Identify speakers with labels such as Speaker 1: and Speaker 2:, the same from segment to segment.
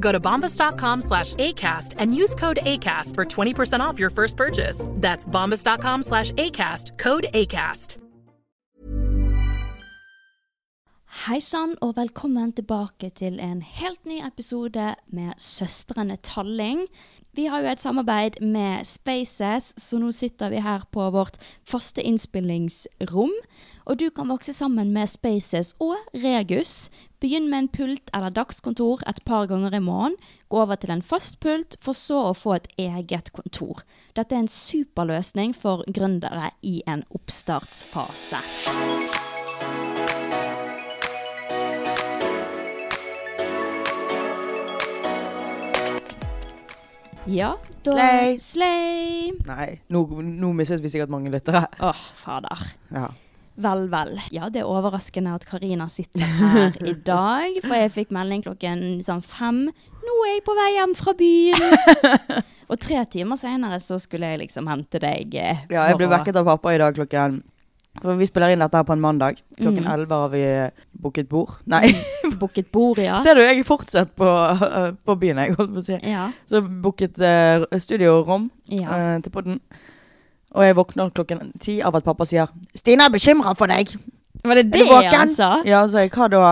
Speaker 1: Go to bombas.com slash ACAST and use code ACAST for 20% off your first purchase. That's bombas.com slash ACAST, code ACAST.
Speaker 2: Hei sann, og velkommen tilbake til en helt ny episode med Søstrene Talling. Vi har jo et samarbeid med Spaces, så nå sitter vi her på vårt faste innspillingsrom. Og du kan vokse sammen med Spaces og Regus. Begynn med en pult eller dagskontor et par ganger i måneden. Gå over til en fast pult, for så å få et eget kontor. Dette er en superløsning for gründere i en oppstartsfase. Ja, da
Speaker 3: Slay.
Speaker 2: Slay!
Speaker 3: Nei, nå, nå mistet vi sikkert mange lyttere.
Speaker 2: Åh, fader.
Speaker 3: Ja.
Speaker 2: Vel, vel. Ja, det er overraskende at Karina sitter her i dag, for jeg fikk melding klokken sånn fem. Nå er jeg på vei hjem fra byen! Og tre timer senere så skulle jeg liksom hente deg. eh,
Speaker 3: ja, jeg
Speaker 2: for
Speaker 3: ble
Speaker 2: å-
Speaker 3: vekket av pappa i dag klokken for Vi spiller inn dette her på en mandag. Klokken
Speaker 2: Mm.
Speaker 3: 11 har vi eh, booket bord. Nei,
Speaker 2: Booket bord, ja.
Speaker 3: ser du, jeg er fortsatt på, eh, på byen, jeg holdt på å si.
Speaker 2: Ja,
Speaker 3: Så booket eh, studio og rom
Speaker 2: ja.
Speaker 3: eh, til podden. Og jeg våkner klokken ti av at pappa sier 'Stina er bekymra for deg'.
Speaker 2: Var det altså.
Speaker 3: du
Speaker 2: det
Speaker 3: våken?
Speaker 2: han sa?
Speaker 3: Ja, så jeg, hva da?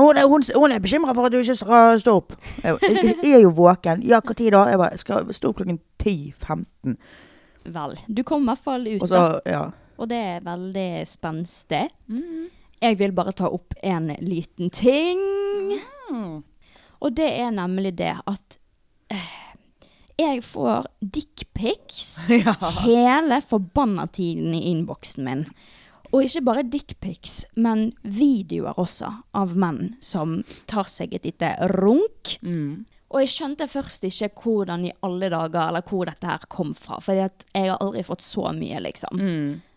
Speaker 3: Hun, er- hun, hun er bekymra for at du ikke skal stå opp. Jeg, ba, jeg, jeg er jo våken. Ja, når da? Jeg bare, skal stå opp klokken 10.15.
Speaker 2: Vel, du kom i hvert fall ut,
Speaker 3: Og
Speaker 2: da.
Speaker 3: så, ja.
Speaker 2: Og det er veldig spenstig. Jeg vil bare ta opp en liten ting. Og det er nemlig det at eh, jeg får dickpics hele forbanna tiden i innboksen min. Og ikke bare dickpics, men videoer også av menn som tar seg et lite runk. Og jeg skjønte først ikke hvordan i alle dager, eller hvor dette her kom fra. For jeg har aldri fått så mye, liksom.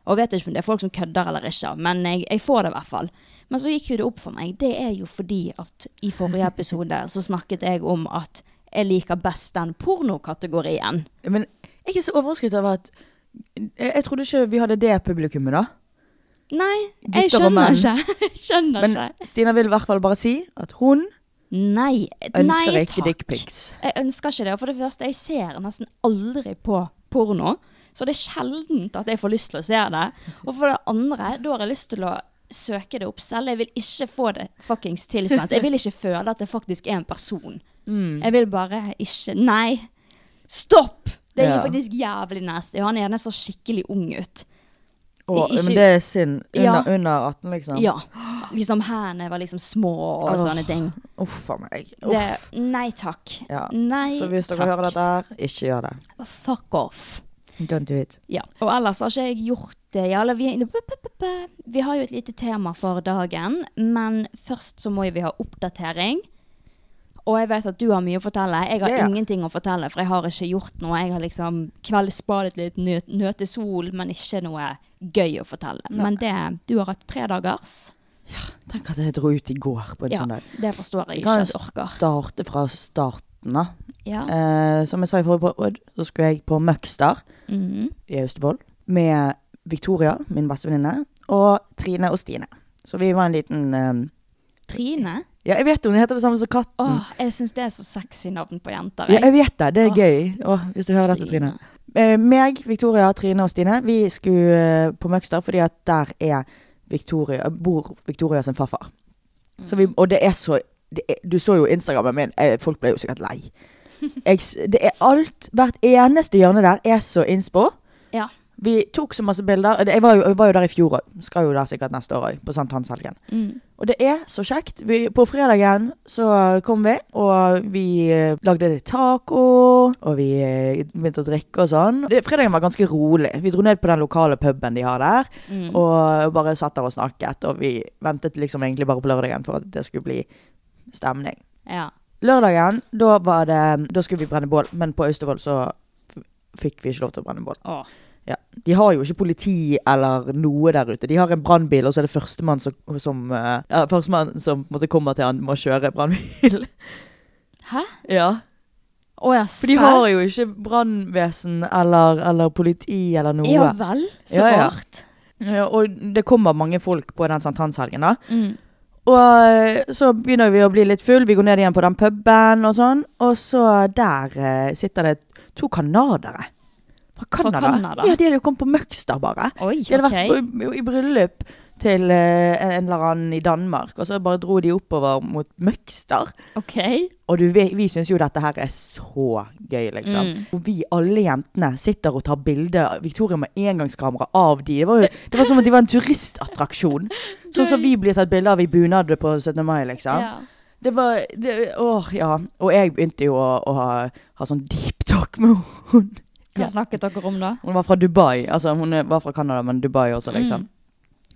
Speaker 2: Og vet ikke om det er folk som kødder eller ikke, men jeg, jeg får det i hvert fall. Men så gikk jo det opp for meg. Det er jo fordi at i forrige episode så snakket jeg om at jeg liker best den pornokategorien.
Speaker 3: Men jeg er så overrasket over at jeg, jeg trodde ikke vi hadde det publikummet, da.
Speaker 2: Nei, jeg
Speaker 3: Gutter og menn.
Speaker 2: skjønner ikke. Jeg skjønner
Speaker 3: Men
Speaker 2: ikke.
Speaker 3: Stina vil i hvert fall bare si at hun
Speaker 2: Nei.
Speaker 3: ønsker
Speaker 2: nei,
Speaker 3: ikke
Speaker 2: takk.
Speaker 3: dickpics.
Speaker 2: Jeg ønsker ikke det. Og for det første, jeg ser nesten aldri på porno. Så det er sjeldent at jeg får lyst til å se det. Og for det andre, da har jeg lyst til å søke det opp selv. Jeg vil ikke få det fuckings tilsendt. Jeg vil ikke føle at det faktisk er en person.
Speaker 3: Mm.
Speaker 2: Jeg vil bare ikke Nei! Stopp! Det er
Speaker 3: Ja.
Speaker 2: faktisk jævlig nasty. Og han ene så skikkelig ung ut.
Speaker 3: Og,
Speaker 2: Ikke-
Speaker 3: men det er synd. Under,
Speaker 2: Ja.
Speaker 3: under 18, liksom?
Speaker 2: Ja. Liksom hendene var liksom små og
Speaker 3: Åh,
Speaker 2: sånne ting.
Speaker 3: Uff a meg. Uff.
Speaker 2: Det, nei takk.
Speaker 3: Ja.
Speaker 2: Nei
Speaker 3: Så hvis dere
Speaker 2: takk.
Speaker 3: hører dette her, ikke gjør det.
Speaker 2: Fuck off.
Speaker 3: Don't do it.
Speaker 2: Ja. Og ellers har ikke jeg gjort det. Ja, eller vi, vi har jo et lite tema for dagen, men først så må jo vi ha oppdatering. Og jeg vet at du har mye å fortelle. Jeg har
Speaker 3: Ja, ja.
Speaker 2: ingenting å fortelle, for jeg har ikke gjort noe. Jeg har liksom kveldsbadet litt, nøt, nøte sol, men ikke noe gøy å fortelle. Men det, du har hatt tre dagers.
Speaker 3: Tenk at jeg dro ut i går på en
Speaker 2: Ja,
Speaker 3: søndag.
Speaker 2: det forstår jeg
Speaker 3: Vi
Speaker 2: ikke
Speaker 3: kan jo
Speaker 2: at du orker.
Speaker 3: Starte fra starten av.
Speaker 2: Ja.
Speaker 3: Eh, som jeg sa i forrige podd, så skulle jeg på Møgster
Speaker 2: Mhm.
Speaker 3: i Austevoll med Victoria, min bestevenninne, og Trine og Stine. Så vi var en liten eh,
Speaker 2: Trine?
Speaker 3: Ja, jeg vet hun heter det samme som katten.
Speaker 2: Åh, jeg syns det er så sexy navn på jenter.
Speaker 3: Mm. ja, jeg vet det. Det er
Speaker 2: Åh.
Speaker 3: gøy. Åh, hvis du hører dette, Trine. Eh, meg, Victoria, Trine og Stine, vi skulle eh, på Møgster fordi at der er Victoria, bor Victoria sin farfar. Så vi, og det er så det er, Du så jo Instagrammen min. eh, Folk ble jo sikkert lei. Jeg, s- det er alt Hvert eneste hjørne der er så innspo.
Speaker 2: Ja.
Speaker 3: Vi tok så masse bilder. og det- Jeg var jo, jeg var jo der i fjor òg. Skal jo der sikkert neste år òg, på sankthanshelgen.
Speaker 2: Mm.
Speaker 3: Og det er så kjekt. Vi, på fredagen så kom vi, og vi eh, lagde litt taco, og vi eh, begynte å drikke og sånn. Det, fredagen var ganske rolig. Vi dro ned på den lokale puben de har der,
Speaker 2: Mm.
Speaker 3: og bare satt der og snakket. Og vi ventet liksom egentlig bare på lørdagen for at det skulle bli stemning.
Speaker 2: Ja.
Speaker 3: Lørdagen, da var det Da skulle vi brenne bål, men på Austevoll så f- fikk vi ikke lov til å brenne bål.
Speaker 2: Åh.
Speaker 3: De har jo ikke politi eller noe der ute. De har en brannbil, og så er det førstemann som, som eh, ja, Førstemann som på en måte kommer til han må kjøre brannbil.
Speaker 2: Hæ?
Speaker 3: ja.
Speaker 2: Å ja,
Speaker 3: For de har jo ikke brannvesen eller, eller politi eller noe.
Speaker 2: Ja vel, så
Speaker 3: Ja, ja.
Speaker 2: rart.
Speaker 3: Ja, og det kommer mange folk på den sankthanshelgen, da.
Speaker 2: Mm.
Speaker 3: Og eh, så begynner vi å bli litt full, vi går ned igjen på den puben og sånn. Og så der eh, sitter det to kanadere. Fra Canada.
Speaker 2: Canada?
Speaker 3: Ja, de hadde jo kommet på Møgster, bare.
Speaker 2: Oi,
Speaker 3: De hadde
Speaker 2: ok.
Speaker 3: vært på, i, i bryllup til eh, en en eller annen i Danmark, og så bare dro de oppover mot Møgster.
Speaker 2: Ok.
Speaker 3: Og du, vi, vi syns jo dette her er så gøy, liksom.
Speaker 2: Mm.
Speaker 3: Og vi alle jentene sitter og tar bilde av Victoria med engangskamera av de. Det var, jo, det var som om de var en turistattraksjon. Sånn som vi blir tatt bilde av i bunad på 17. mai, liksom.
Speaker 2: Ja.
Speaker 3: Det var det, Åh, ja. Og jeg begynte jo å, å ha, ha sånn deep talk med hun.
Speaker 2: Hva
Speaker 3: Ja.
Speaker 2: snakket dere om da?
Speaker 3: Hun var fra Dubai. Altså, hun er- var fra Canada, men Dubai også, liksom.
Speaker 2: Mm.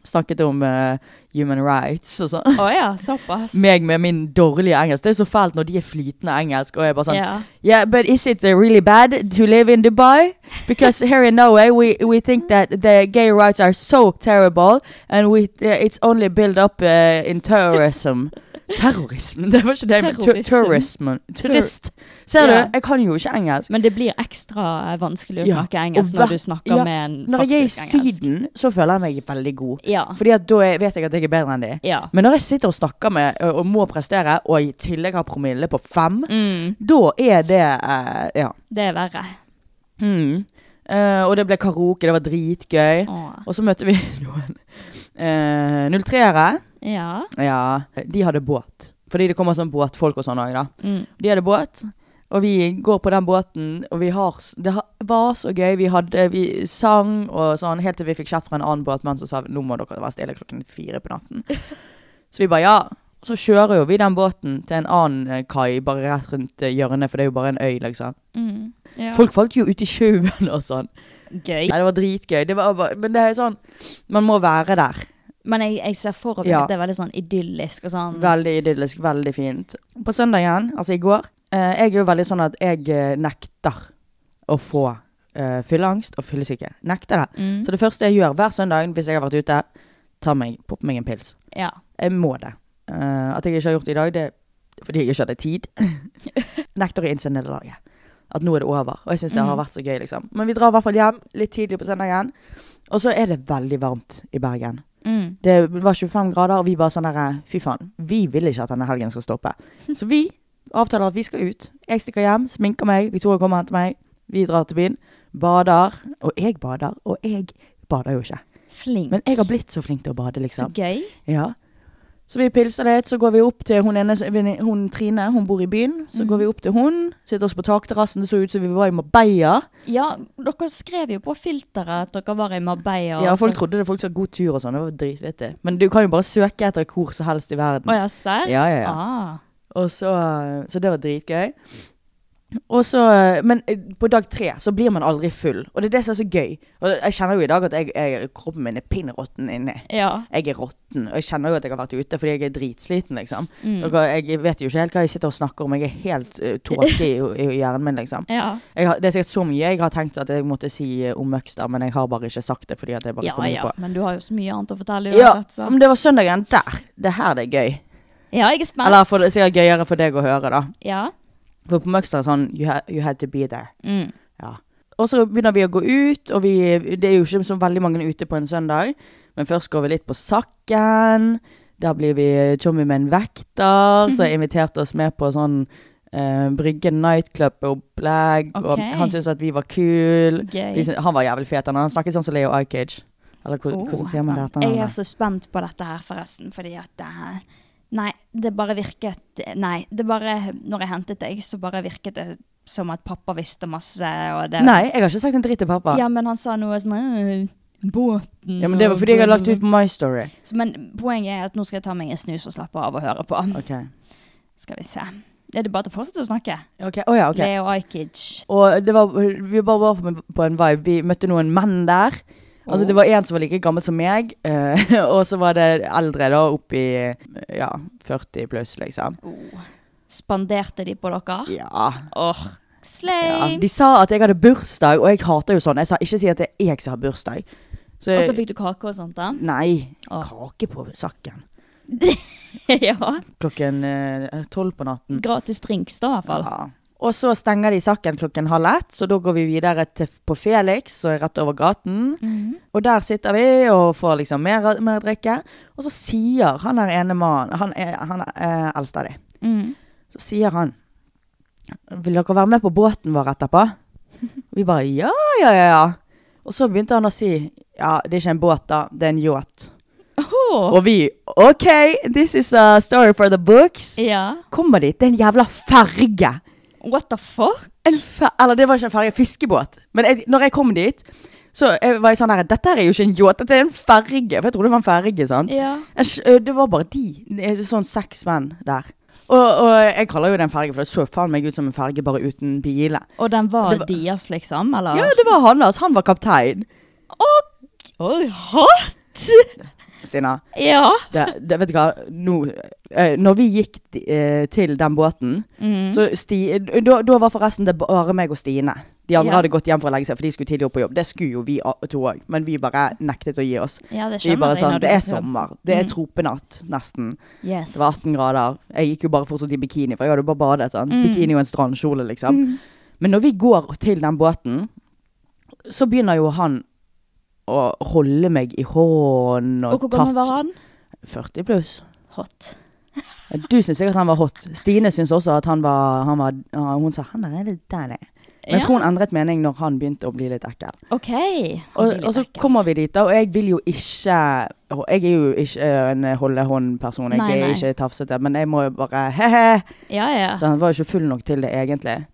Speaker 3: Snakket om eh, human rights og sånn.
Speaker 2: Å ja, såpass.
Speaker 3: Meg med min dårlige engelsk. Det er så fælt når de er flytende engelsk, og jeg bare sånn
Speaker 2: Ja.
Speaker 3: Yeah, but is it uh, really bad to live in Dubai? Because here in Norway, we, we think that the gay rights are so terrible, and we uh, it's only built up uh, in terrorism. Terrorism? Det var ikke det, men tu-
Speaker 2: Terrorism.
Speaker 3: terrorism. Turist. Ser du,
Speaker 2: Ja.
Speaker 3: jeg kan jo ikke engelsk.
Speaker 2: Men det blir ekstra eh, vanskelig å
Speaker 3: Ja,
Speaker 2: snakke
Speaker 3: og
Speaker 2: engelsk
Speaker 3: hver-
Speaker 2: når du snakker
Speaker 3: ja,
Speaker 2: med en
Speaker 3: Når jeg er i
Speaker 2: faktisk engelsk.
Speaker 3: Syden, så føler jeg meg veldig god.
Speaker 2: Ja.
Speaker 3: Fordi at da er- vet jeg at jeg er bedre enn de.
Speaker 2: ja.
Speaker 3: Men når jeg sitter og snakker med, og og må prestere, og i tillegg har promille på fem,
Speaker 2: Mm,
Speaker 3: da er det eh, Ja.
Speaker 2: det er verre.
Speaker 3: Mm. Eh, og det ble karaoke, det var dritgøy.
Speaker 2: Åh.
Speaker 3: Og så møtte vi noen eh, 03-ere.
Speaker 2: Ja.
Speaker 3: Ja, de hadde båt. Fordi det kommer sånn båtfolk og sånn òg, da.
Speaker 2: Mm.
Speaker 3: De hadde båt, og vi går på den båten, og vi har s- Det ha- var så gøy. Vi hadde Vi sang og sånn, helt til vi fikk kjeft fra en annen båtmann som sa nå må dere være stille klokken fire på natten. Så vi bare ja. Så kjører jo vi den båten til en annen eh, kai bare rett rundt eh, hjørnet, for det er jo bare en øy, liksom.
Speaker 2: Mm. Ja.
Speaker 3: Folk falt jo ut i sjøen og sånn.
Speaker 2: Gøy.
Speaker 3: Nei, det var dritgøy. Det var bare, men det er sånn Man må være der.
Speaker 2: Men jeg, jeg ser for meg
Speaker 3: Ja.
Speaker 2: at det er veldig sånn idyllisk og sånn.
Speaker 3: Veldig idyllisk, veldig fint. På søndagen, altså i går, eh, jeg er jo veldig sånn at jeg eh, nekter å få eh, fylleangst og fyllesyke. Nekter det.
Speaker 2: Mm.
Speaker 3: Så det første jeg gjør hver søndag hvis jeg har vært ute, tar meg, popper meg en pils.
Speaker 2: Ja.
Speaker 3: Jeg må det. Eh, at jeg ikke har gjort det i dag, det er fordi jeg ikke hadde tid. nekter å innse nederlaget. At nå er det over. Og jeg syns det har
Speaker 2: Mhm.
Speaker 3: vært så gøy, liksom. Men vi drar i hvert fall hjem litt tidlig på søndagen. Og så er det veldig varmt i Bergen.
Speaker 2: Mm.
Speaker 3: Det var 25 grader, og vi bare sånn derre Fy faen, vi vil ikke at denne helgen skal stoppe. Så vi avtaler at vi skal ut. Jeg stikker hjem, sminker meg, Victoria kommer og henter meg. Vi drar til byen, bader. Og jeg bader, og jeg bader jo ikke.
Speaker 2: Flink.
Speaker 3: Men jeg har blitt så flink til å bade,
Speaker 2: Så
Speaker 3: liksom.
Speaker 2: gøy.
Speaker 3: Ja. Så vi pilser litt, så går vi opp til hun, ene, hun Trine, hun bor i byen. Så
Speaker 2: Mm.
Speaker 3: går vi opp til hun, sitter oss på takterrassen, det så ut som vi var i Marbella.
Speaker 2: Ja, dere skrev jo på filteret at dere var i Marbella.
Speaker 3: Ja, folk
Speaker 2: så-
Speaker 3: trodde det folk sa god tur og sånn, det var dritvettig. Men du kan jo bare søke etter hvor som helst i verden.
Speaker 2: Å ja, serr?
Speaker 3: Ja, ja, ja.
Speaker 2: Ah.
Speaker 3: Og så, så det var dritgøy. Og så, men eh, på dag tre så blir man aldri full, og det er det som er så gøy. Og jeg kjenner jo i dag at jeg, jeg, kroppen min er pinnråtten inni.
Speaker 2: Ja.
Speaker 3: Jeg er råtten, og jeg kjenner jo at jeg har vært ute fordi jeg er dritsliten, liksom.
Speaker 2: Mm.
Speaker 3: Og jeg vet jo ikke helt hva jeg sitter og snakker om, jeg er helt uh, tåke i, i hjernen min, liksom.
Speaker 2: Ja.
Speaker 3: Jeg har, det er sikkert så mye jeg har tenkt at jeg måtte si eh, om Møgster, men jeg har bare ikke sagt det fordi at jeg bare
Speaker 2: ja,
Speaker 3: kom inn
Speaker 2: ja.
Speaker 3: på
Speaker 2: Men du har jo så mye annet å fortelle
Speaker 3: ja,
Speaker 2: uansett, så.
Speaker 3: men det var søndagen der. Det er her det er gøy.
Speaker 2: Ja, jeg er spent.
Speaker 3: Eller for, sikkert gøyere for deg å høre, da.
Speaker 2: Ja.
Speaker 3: For på Møgster er det sånn you, ha, you had to be there.
Speaker 2: Mm.
Speaker 3: Ja. Og så begynner vi å gå ut, og vi, det er jo ikke så veldig mange ute på en søndag. Men først går vi litt på Sakken. Der blir vi chummy med en vekter,
Speaker 2: Mhm.
Speaker 3: som har invitert oss med på sånn eh, Brygge nightclub-opplegg.
Speaker 2: Ok.
Speaker 3: Og han syntes at vi var kul.
Speaker 2: Gøy.
Speaker 3: Vi syntes- Han var jævlig fet. han. Han snakket sånn som Leo Ajkic. Eller hvor,
Speaker 2: Oh,
Speaker 3: hvordan sier man
Speaker 2: vent.
Speaker 3: dette?
Speaker 2: Jeg
Speaker 3: navnet?
Speaker 2: er så spent på dette her, forresten, fordi at det her Nei, det bare virket Nei, det bare Når jeg hentet deg, så bare virket det som at pappa visste masse, og det
Speaker 3: Nei, jeg har ikke sagt en dritt til pappa.
Speaker 2: Ja, men han sa noe sånn «Øh, Båten
Speaker 3: Ja, men Det var fordi jeg hadde lagt ut på My Story.
Speaker 2: Så, Men poenget er at nå skal jeg ta meg en snus og slappe av og høre på.
Speaker 3: Ok.
Speaker 2: Skal vi se. Er det bare til å fortsette å snakke?
Speaker 3: Ok, Å ja, ok.
Speaker 2: Leo Ajkic.
Speaker 3: Og det var, vi bare var på- på en vibe. Vi møtte noen menn der. Altså
Speaker 2: Oh.
Speaker 3: Det var en som var like gammel som meg, eh, og så var det eldre, da, oppi ja, 40 pluss, liksom.
Speaker 2: Oh. Spanderte de på dere?
Speaker 3: Ja.
Speaker 2: Åh,
Speaker 3: ja.
Speaker 2: slay!
Speaker 3: De sa at jeg hadde bursdag, og jeg hater jo sånn. Jeg sa ikke si at det er jeg som har bursdag. Så,
Speaker 2: Og så fikk du kake og sånt, da?
Speaker 3: Nei.
Speaker 2: Åh.
Speaker 3: Kake på sakken.
Speaker 2: ja.
Speaker 3: Klokken eh, tolv på natten.
Speaker 2: Gratis drinks, da, i hvert fall.
Speaker 3: Ja. Og så stenger de saken klokken halv ett, så da går vi videre til, på Felix, som er rett over gaten.
Speaker 2: Mhm.
Speaker 3: Og der sitter vi og får liksom mer, mer drikke. Og så sier han der ene mannen, han er, han er eh, eldst av de,
Speaker 2: Mm.
Speaker 3: så sier han Vil dere være med på båten vår etterpå? Og vi bare ja, ja, ja, ja. Og så begynte han å si ja, det er ikke en båt, da. Det er en yacht.
Speaker 2: Åh.
Speaker 3: Og vi OK, this is a story for the books.
Speaker 2: Ja.
Speaker 3: Kommer dit, det er en jævla ferge.
Speaker 2: What the fuck?
Speaker 3: En fe Eller det var ikke en ferge, en fiskebåt. Men jeg, når jeg kom dit, så jeg var jeg sånn her Dette her er jo ikke en yacht, dette er en ferge. For jeg trodde det var en ferge, sant.
Speaker 2: Ja.
Speaker 3: Jeg skj- øh, Det var bare de. eh, Sånn seks menn der. Og, og jeg kaller jo det en ferge, for det så faen meg ut som en ferge, bare uten biler.
Speaker 2: Og den var,
Speaker 3: Det var-
Speaker 2: deres, liksom? Eller?
Speaker 3: Ja, det var han, altså. Han var kaptein.
Speaker 2: Oi, hot!
Speaker 3: Stina,
Speaker 2: Ja.
Speaker 3: det, det, vet du hva. Nå, eh, når vi gikk eh, til den båten,
Speaker 2: Mm. Mhm.
Speaker 3: så sti, da, da var forresten det bare meg og Stine. De andre
Speaker 2: Ja.
Speaker 3: hadde gått hjem for å legge seg, for de skulle tidlig opp på jobb. Det skulle jo vi a- to òg, men vi bare nektet å gi oss.
Speaker 2: Ja, det
Speaker 3: Vi
Speaker 2: skjønner
Speaker 3: bare
Speaker 2: jeg
Speaker 3: sånn
Speaker 2: når du
Speaker 3: Det
Speaker 2: er
Speaker 3: er
Speaker 2: på jobb."
Speaker 3: sommer. Det er
Speaker 2: Mm.
Speaker 3: tropenatt, nesten.
Speaker 2: Yes.
Speaker 3: Det var 18 grader. Jeg gikk jo bare fortsatt i bikini, for jeg hadde jo bare badet. Sant?
Speaker 2: Mm.
Speaker 3: Bikini og en strandkjole, liksom.
Speaker 2: Mhm.
Speaker 3: Men når vi går til den båten, så begynner jo han å holde meg i hånden og,
Speaker 2: Og hvor gammel var
Speaker 3: tafse-
Speaker 2: han?
Speaker 3: 40 pluss.
Speaker 2: Hot.
Speaker 3: Du syns sikkert han var hot. Stine syns også at han var, han var ja, Hun sa 'han der er litt der, det'. Men jeg tror hun endret mening når han begynte å bli litt ekkel.
Speaker 2: OK. Han
Speaker 3: Og,
Speaker 2: blir litt
Speaker 3: og så
Speaker 2: ekkel.
Speaker 3: kommer vi dit, da, og jeg vil jo ikke og Jeg er jo ikke eh, en holde-hånd-person, jeg
Speaker 2: Nei,
Speaker 3: er
Speaker 2: nei.
Speaker 3: ikke tafsete, men jeg må jo bare he-he.
Speaker 2: Ja, ja.
Speaker 3: Så han var jo ikke full nok til det, egentlig.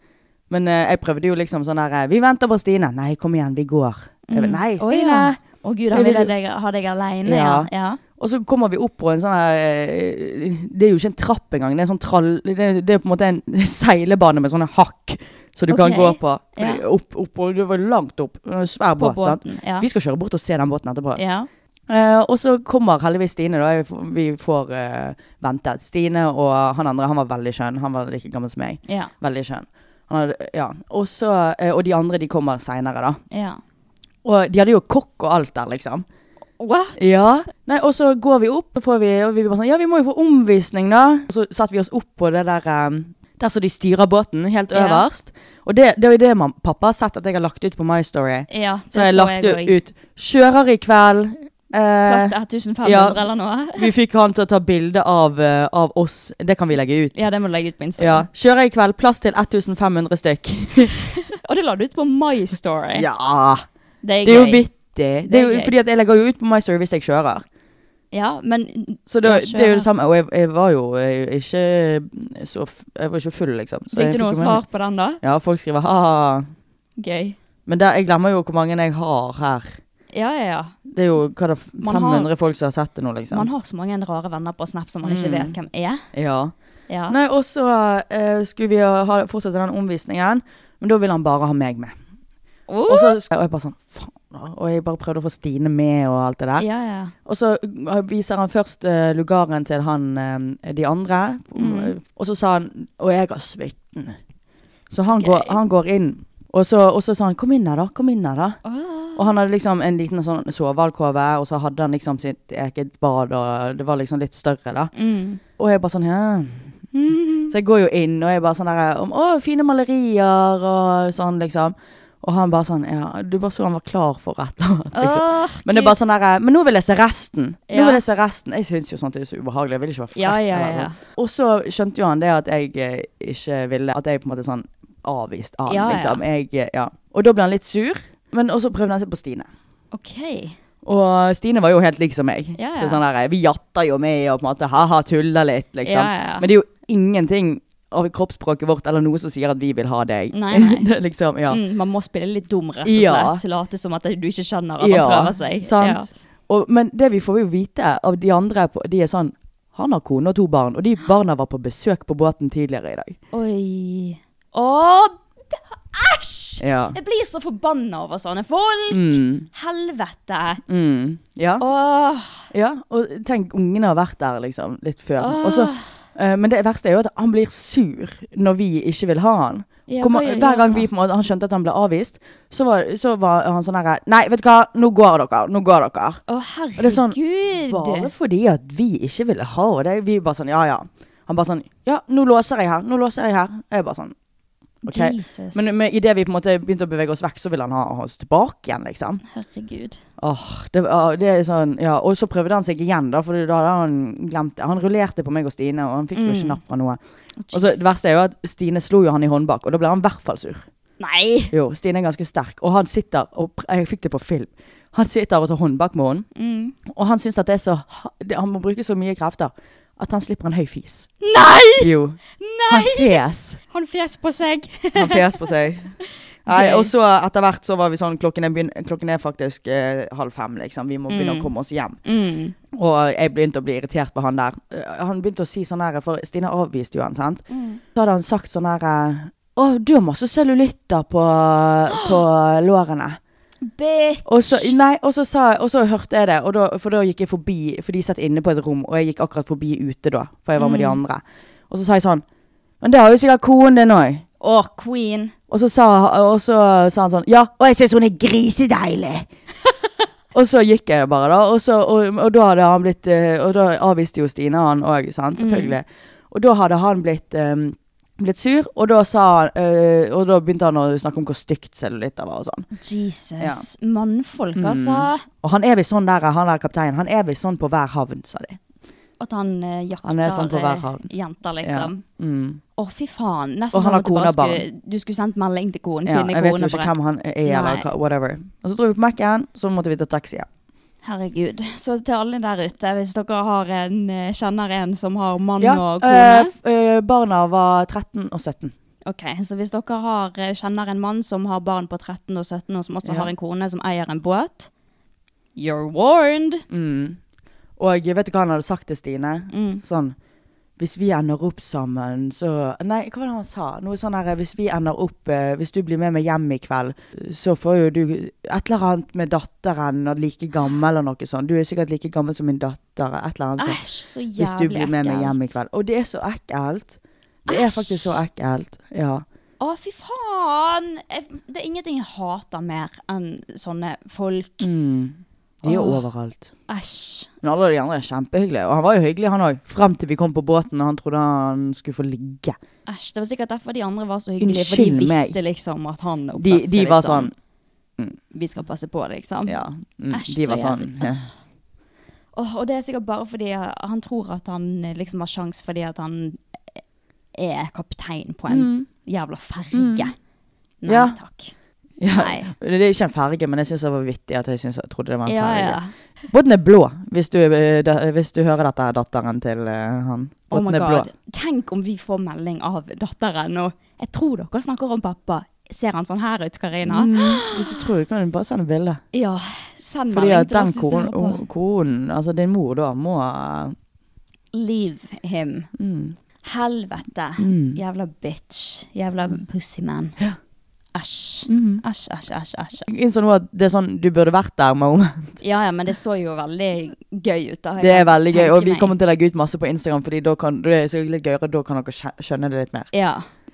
Speaker 3: Men eh, jeg prøvde jo liksom sånn der eh, 'Vi venter på Stine.' 'Nei, kom igjen, vi går.' Jeg, bare,
Speaker 2: Mm.
Speaker 3: Nei,
Speaker 2: Å, ja.
Speaker 3: Stine!
Speaker 2: Å gud, han
Speaker 3: Jeg vil-
Speaker 2: ville deg, ha deg alene, ja.
Speaker 3: Ja.
Speaker 2: ja.
Speaker 3: Og så kommer vi opp på en sånn her eh, Det er jo ikke en trapp engang. Det er, en sånn trall, det, det er på en måte en seilebane med sånne hakk som du kan
Speaker 2: Ok.
Speaker 3: gå på. Fordi Opp, opp, og det var langt opp. Det var En svær
Speaker 2: På
Speaker 3: båt. sant?
Speaker 2: båten. Ja.
Speaker 3: Vi skal kjøre bort og se den båten etterpå.
Speaker 2: ja.
Speaker 3: Eh, og så kommer heldigvis Stine, da. Jeg får- Vi får eh, ventet. Stine og han andre, han var veldig skjønn. Han var like gammel som meg.
Speaker 2: Ja.
Speaker 3: Veldig skjønn. Han hadde, ja. og, så, eh, og de andre, de kommer seinere, da.
Speaker 2: ja.
Speaker 3: Og de hadde jo kokk og alt der, liksom.
Speaker 2: What?
Speaker 3: Ja. Nei, og så går vi opp, og, får vi, og vi bare sånn Ja, vi må jo få omvisning, da. Og så satte vi oss opp på det der eh, Der som de styrer båten, helt
Speaker 2: Ja.
Speaker 3: øverst. Og det, det er jo det man, pappa har sett at jeg har lagt ut på My Story.
Speaker 2: Ja, det
Speaker 3: Så har jeg lagt
Speaker 2: også.
Speaker 3: ut 'Kjører i kveld'.
Speaker 2: Plass
Speaker 3: Eh,
Speaker 2: til 1500
Speaker 3: ja.
Speaker 2: eller noe.
Speaker 3: vi fikk han til å ta bilde av, eh, av oss. Det kan vi legge ut.
Speaker 2: Ja, det må du legge ut på Instagram.
Speaker 3: Ja. 'Kjører i kveld'. Plass til 1500 stykk.
Speaker 2: Og det la du ut på My Story.
Speaker 3: Ja.
Speaker 2: Det er,
Speaker 3: Det er jo
Speaker 2: gøy.
Speaker 3: vittig. Det
Speaker 2: Det
Speaker 3: er
Speaker 2: er
Speaker 3: jo,
Speaker 2: gøy.
Speaker 3: fordi at jeg legger jo ut på My Story hvis jeg kjører.
Speaker 2: Ja, men
Speaker 3: Så da,
Speaker 2: Ja,
Speaker 3: det er jo det samme. Og jeg, jeg var jo eh, ikke så f Jeg var ikke full, liksom. Så
Speaker 4: Fikk
Speaker 3: jeg
Speaker 4: du noe
Speaker 3: jo med meg-
Speaker 4: svar på den, da?
Speaker 3: Ja, folk skriver ha-ha.
Speaker 4: Gøy.
Speaker 3: Men der, jeg glemmer jo hvor mange jeg har her.
Speaker 2: Ja, ja, ja.
Speaker 3: Det er jo hva da, f-
Speaker 2: Man har-
Speaker 3: 500 folk som har sett det nå, liksom.
Speaker 2: Man har så mange rare venner på Snap som man ikke
Speaker 3: Mm.
Speaker 2: vet hvem er.
Speaker 3: Ja.
Speaker 2: Ja.
Speaker 3: Nei, og så eh, skulle vi ha, ha- fortsette den omvisningen, men da ville han bare ha meg med.
Speaker 2: Oh!
Speaker 3: Og, så, og jeg bare sånn, faen da. Og jeg bare prøvde å få Stine med og alt det der.
Speaker 2: Ja, ja.
Speaker 3: Og så uh, viser han først eh, lugaren til han, eh, de andre.
Speaker 4: Mm.
Speaker 3: Og så sa han, og jeg har svitten. Så han går,
Speaker 2: Gøy.
Speaker 3: han går inn. Og så, og så sa han, kom inn her da, kom inn her
Speaker 2: Mm.
Speaker 3: da. Og han hadde liksom en liten sånn sovealkove, og så hadde han liksom sitt eget bad, og det var liksom litt større da.
Speaker 2: Mm.
Speaker 3: Og jeg bare sånn, ja. Så jeg går jo inn, og jeg bare sånn der, om, å, fine malerier, og sånn liksom. Og han bare sånn, ja, du bare så han var klar for et eller annet, liksom.
Speaker 2: Åh,
Speaker 3: Men det er bare sånn der, men nå vil jeg se resten. Nå
Speaker 2: Ja.
Speaker 3: vil jeg se resten. Jeg syns jo sånt er så ubehagelig. Jeg vil ikke være frekk.
Speaker 2: Ja, ja,
Speaker 3: eller
Speaker 2: ja.
Speaker 3: sånn. Og så skjønte jo han det at jeg eh, ikke ville At jeg på en måte sånn avvist han,
Speaker 2: Ja, ja.
Speaker 3: liksom. Jeg, eh, ja. Og da ble han litt sur, men også prøvde han seg på Stine.
Speaker 2: OK.
Speaker 3: Og Stine var jo helt lik som meg.
Speaker 2: Ja, ja.
Speaker 3: Så sånn der, Vi jatter jo med og på en måte ha-ha, tuller litt, liksom.
Speaker 2: Ja, ja.
Speaker 3: Men det er jo ingenting av kroppsspråket vårt eller noe som sier at vi vil ha deg.
Speaker 2: Nei, nei.
Speaker 3: Det er liksom, ja.
Speaker 2: Mm, man må spille litt dum, rett og
Speaker 3: Ja.
Speaker 2: slett. Late som at du ikke skjønner at man prøver seg.
Speaker 3: Sant? Og, men det vi får jo vite av de andre, på, de er sånn Han har kone og to barn, og de barna var på besøk på båten tidligere i dag.
Speaker 2: Ja. Oi. Åh, d- æsj!
Speaker 3: Ja.
Speaker 2: Jeg blir så forbanna over sånne folk!
Speaker 3: Mm,
Speaker 2: Helvete!
Speaker 3: mm, ja.
Speaker 2: Åh,
Speaker 3: ja. Og tenk, ungene har vært der liksom litt før.
Speaker 2: Ah.
Speaker 3: Og så, eh, men det verste er jo at han blir sur når vi ikke vil ha han.
Speaker 2: Ja,
Speaker 3: Kommer-
Speaker 2: hva gjør
Speaker 3: hver gang
Speaker 2: han da?
Speaker 3: vi på en måte, han skjønte at han ble avvist, så var, så var han sånn herre Nei, vet du hva, nå går dere. Nå går dere.
Speaker 2: Å,
Speaker 3: Og det er sånn,
Speaker 2: herregud!
Speaker 3: Bare fordi at vi ikke ville ha det. Vi bare sånn, ja ja. Han bare sånn, ja, nå låser jeg her, nå låser jeg her. Jeg bare sånn, ok.
Speaker 2: Jesus.
Speaker 3: Men, men idet vi på en måte begynte å bevege oss vekk, så ville han ha oss tilbake igjen, liksom.
Speaker 2: Herregud.
Speaker 3: Åh, det, var- det er sånn, ja. Og så prøvde han seg igjen, da, for da hadde han glemt det. Han rullerte på meg og Stine, og han fikk jo ikke napp fra noe. Og så Altså, Det verste er jo at Stine slo jo han i håndbak, og da ble han i hvert fall sur.
Speaker 2: Nei!
Speaker 3: Jo, Stine er ganske sterk, og han sitter og pr- Jeg fikk det på film. Han sitter og tar håndbak med henne.
Speaker 2: Mm.
Speaker 3: Og han syns at det er så ha- det- Han må bruke så mye krefter at han slipper en høy fis.
Speaker 2: Nei!
Speaker 3: Jo. Han fes.
Speaker 2: Han fjes på seg.
Speaker 3: Han fes på seg. Nei, og så etter hvert så var vi sånn Klokken er, begyn- klokken er faktisk eh, halv fem, liksom. Vi må begynne å komme oss hjem.
Speaker 2: Mm.
Speaker 3: Og jeg begynte å bli irritert på han der. Eh, Han begynte å si sånn her, for Stine avviste jo han, sant. Så hadde han sagt sånn her eh, Å, du har masse cellulitter på, på lårene.
Speaker 2: Bitch.
Speaker 3: Og så, nei, og så, sa, og så hørte jeg det, og da, for da gikk jeg forbi, for de satt inne på et rom, og jeg gikk akkurat forbi ute da, for jeg var med de andre. Og så sa jeg sånn, men det har jo sikkert konen din også.
Speaker 2: Å, queen.
Speaker 3: Og så sa, og så sa han sånn, ja, og jeg synes hun er grisedeilig. og så gikk jeg bare da, og, så, og, og da hadde han blitt, eh, og da avviste jo Stine han også, sant, selvfølgelig. Og da hadde han blitt, eh, blitt sur, og da, sa, han, eh, og da begynte han å snakke om hvor stygt cellulitter var og sånn.
Speaker 2: Jesus. Mannfolk,
Speaker 3: Mm.
Speaker 2: altså.
Speaker 3: Og han er visst sånn der, han der kapteinen, han er visst sånn på hver havn, sa de.
Speaker 2: At han eh, jakter
Speaker 3: Han er sånn på hver
Speaker 2: eh,
Speaker 3: havn.
Speaker 2: jenter, liksom.
Speaker 3: Ja. Mm.
Speaker 2: Å, fy faen. Nesten
Speaker 3: Og han
Speaker 2: sånn
Speaker 3: har
Speaker 2: at du bare
Speaker 3: kone og barn.
Speaker 2: skulle, du skulle sendt melding til konen.
Speaker 3: Ja,
Speaker 2: finne
Speaker 3: jeg vet
Speaker 2: konen
Speaker 3: jo
Speaker 2: og
Speaker 3: ikke
Speaker 2: bare-
Speaker 3: hvem han er, eller
Speaker 2: Nei.
Speaker 3: hva, whatever. Og så dro vi på Mac-en, så måtte vi ta taxi hjem.
Speaker 2: Herregud. Så til alle der ute, hvis dere har en, eh, kjenner en som har mann
Speaker 3: Ja,
Speaker 2: og
Speaker 3: eh,
Speaker 2: kone
Speaker 3: f- eh, barna var 13 og 17.
Speaker 2: Ok, Så hvis dere har, eh, kjenner en mann som har barn på 13 og 17, og som også
Speaker 3: Ja.
Speaker 2: har en kone som eier en båt You're warned!
Speaker 3: Og vet du hva han hadde sagt til Stine?
Speaker 2: Mm.
Speaker 3: Sånn, hvis vi ender opp sammen, så... Nei, hva var det han sa? Noe sånn her, hvis vi ender opp, eh, hvis du blir med meg hjem i kveld, så får jo du et eller annet med datteren, og like gammel og noe sånt. Du er sikkert like gammel som min datter, et eller annet sånt.
Speaker 2: Æsj, så jævlig
Speaker 3: Hvis du blir med meg
Speaker 2: ekkelt.
Speaker 3: hjem i kveld. Og det er så ekkelt. Det er
Speaker 2: Æsj.
Speaker 3: faktisk så ekkelt. Ja.
Speaker 2: Å, fy faen! Jeg, det er ingenting jeg hater mer enn sånne folk.
Speaker 3: De er
Speaker 2: Mm. Åh.
Speaker 3: overalt.
Speaker 2: Æsj.
Speaker 3: Men alle de andre er kjempehyggelige. Og han var jo hyggelig, han òg. Frem til vi kom på båten og han trodde han skulle få ligge.
Speaker 2: Æsj. Det var sikkert derfor de andre var så hyggelige, for
Speaker 3: Unnskyld
Speaker 2: de
Speaker 3: meg.
Speaker 2: visste liksom at han oppførte
Speaker 3: De,
Speaker 2: seg
Speaker 3: de var
Speaker 2: litt
Speaker 3: sånn
Speaker 2: Vi skal passe på, liksom.
Speaker 3: Ja. Mm,
Speaker 2: Æsj,
Speaker 3: de
Speaker 2: så
Speaker 3: var sånn.
Speaker 2: jævlig. Åh, og det er sikkert bare fordi eh, han tror at han eh, liksom har sjans fordi at han eh, er kaptein på en jævla ferge. Nei
Speaker 3: Mm. Ja.
Speaker 2: takk.
Speaker 3: Ja.
Speaker 2: Nei.
Speaker 3: Det er ikke en ferge, men jeg syns det var vittig at jeg, synes, jeg trodde det var en
Speaker 2: Ja,
Speaker 3: ferge.
Speaker 2: ja.
Speaker 3: Båten er blå. Hvis du, eh, da, hvis du hører dette, er datteren til eh, han.
Speaker 2: Oh my
Speaker 3: Botten er blå.
Speaker 2: god. Tenk om vi får melding av datteren, og jeg tror dere snakker om pappa. Ser han sånn her ut, Karina?
Speaker 3: Mm. Hvis du tror, kan du bare sende bilde.
Speaker 2: Ja, send
Speaker 3: Fordi
Speaker 2: melding
Speaker 3: at
Speaker 2: til
Speaker 3: den
Speaker 2: oss hvis du hører på.
Speaker 3: konen, konen, altså din mor da, må eh, mm,
Speaker 2: Leave him. Helvete. Jævla bitch. Jævla
Speaker 3: Mm.
Speaker 2: pussyman. Æsj. Æsj, æsj, æsj. æsj.
Speaker 3: Jeg innså nå at det er sånn du burde vært der, moment.
Speaker 2: Ja ja, men det så jo veldig gøy ut. da. Jeg
Speaker 3: Det er
Speaker 2: kan
Speaker 3: veldig gøy,
Speaker 2: tenke
Speaker 3: og vi
Speaker 2: meg-
Speaker 3: kommer til å legge ut masse på Instagram, Fordi da kan, det er sikkert litt gøyere, da kan dere skjø- skjønne det litt mer.
Speaker 2: Ja.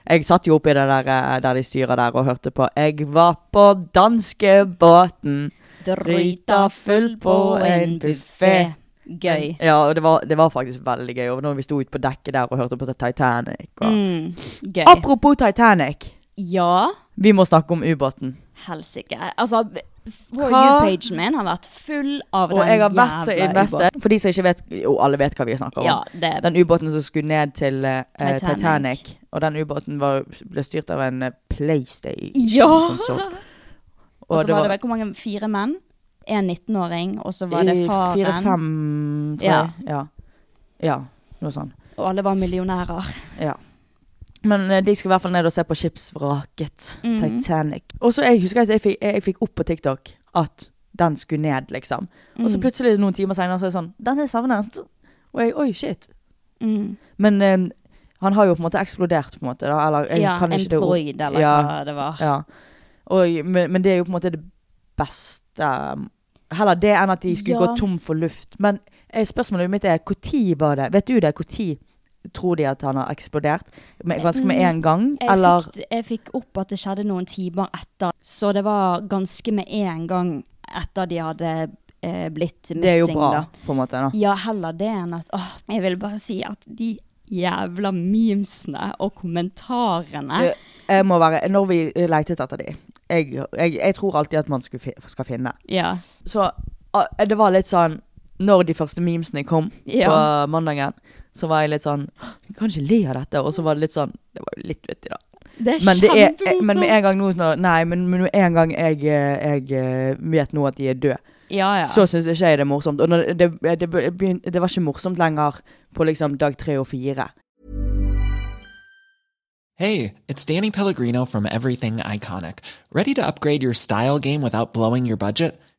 Speaker 3: Jeg satt jo oppi det der, eh, der de styrer der og hørte på Jeg var på danskebåten. Drita full på en buffet.
Speaker 2: Gøy.
Speaker 3: Ja, og det var, det var faktisk veldig gøy. Og når vi sto ute på dekket der og hørte på Titanic og
Speaker 2: Mm, gøy.
Speaker 3: Apropos Titanic,
Speaker 2: Ja,
Speaker 3: vi må snakke om ubåten.
Speaker 2: helsike. Altså, for
Speaker 3: Hva?
Speaker 2: you-pagen min har vært full av
Speaker 3: Og
Speaker 2: den
Speaker 3: jeg har vært så
Speaker 2: jævla ubåten.
Speaker 3: invested. For de som ikke vet Jo, alle vet hva vi snakker om.
Speaker 2: Ja, det
Speaker 3: Den ubåten som skulle ned til eh, eh,
Speaker 2: Titanic.
Speaker 3: Titanic. Og den ubåten var, ble styrt av en eh,
Speaker 2: Ja!
Speaker 3: PlayStation-konsoll.
Speaker 2: Og så var det vel hvor mange? Fire menn? En 19-åring, og så var det faren.
Speaker 3: Fire-fem, tror
Speaker 2: Ja.
Speaker 3: jeg. Ja. ja. Noe sånt.
Speaker 2: Og alle var millionærer.
Speaker 3: Ja. Men eh, de skal i hvert fall ned og se på skipsvraket
Speaker 2: Mhm.
Speaker 3: Titanic. Og så jeg husker at jeg fikk, jeg, jeg fikk opp på TikTok at den skulle ned, liksom. Og så
Speaker 2: Mm.
Speaker 3: plutselig noen timer seinere så er det sånn Den er savnet. Og jeg Oi, shit.
Speaker 2: Mm.
Speaker 3: Men eh, han har jo på en måte eksplodert, på en måte. Da. Eller jeg
Speaker 2: Ja,
Speaker 3: Eh, kan ikke det ordet.
Speaker 2: employed, eller
Speaker 3: Ja.
Speaker 2: hva det var.
Speaker 3: Ja. Og, men, men det er jo på en måte det beste um, Heller det enn at de skulle
Speaker 2: Ja.
Speaker 3: gå tom for luft. Men eh, spørsmålet mitt er når var det? Vet du det? Når tror de at han har eksplodert? Med, ganske med en gang?
Speaker 2: Mm. Jeg,
Speaker 3: Eller
Speaker 2: fikk, jeg fikk opp at det skjedde noen timer etter, så det var ganske med en gang etter de hadde eh, blitt missing.
Speaker 3: Det er jo bra,
Speaker 2: Da.
Speaker 3: på en måte. Da.
Speaker 2: Ja, heller det enn at åh, Jeg vil bare si at de jævla memesene og kommentarene
Speaker 3: Eh, Jeg må være, når vi eh, letet etter de jeg, jeg, jeg tror alltid at man skulle fi- skal finne.
Speaker 2: Ja.
Speaker 3: Så ah, det var litt sånn Når de første memesene kom på
Speaker 2: Ja.
Speaker 3: mandagen, så var jeg litt sånn Vi kan ikke le av dette. Og så var det litt sånn Det var jo litt vittig, da.
Speaker 2: Det er
Speaker 3: Men, det er, eh,
Speaker 2: kjempemorsomt.
Speaker 3: men med en gang nå sånn- Nei, men med en gang jeg, eh, jeg eh, vet nå at de er døde,
Speaker 2: ja, ja.
Speaker 3: så syns ikke jeg det er morsomt. Og når det, det, det, begyn- det var ikke morsomt lenger på liksom dag tre og fire.
Speaker 4: Hey, it's Danny Pellegrino from Everything Iconic. Ready to upgrade your style game without blowing your budget?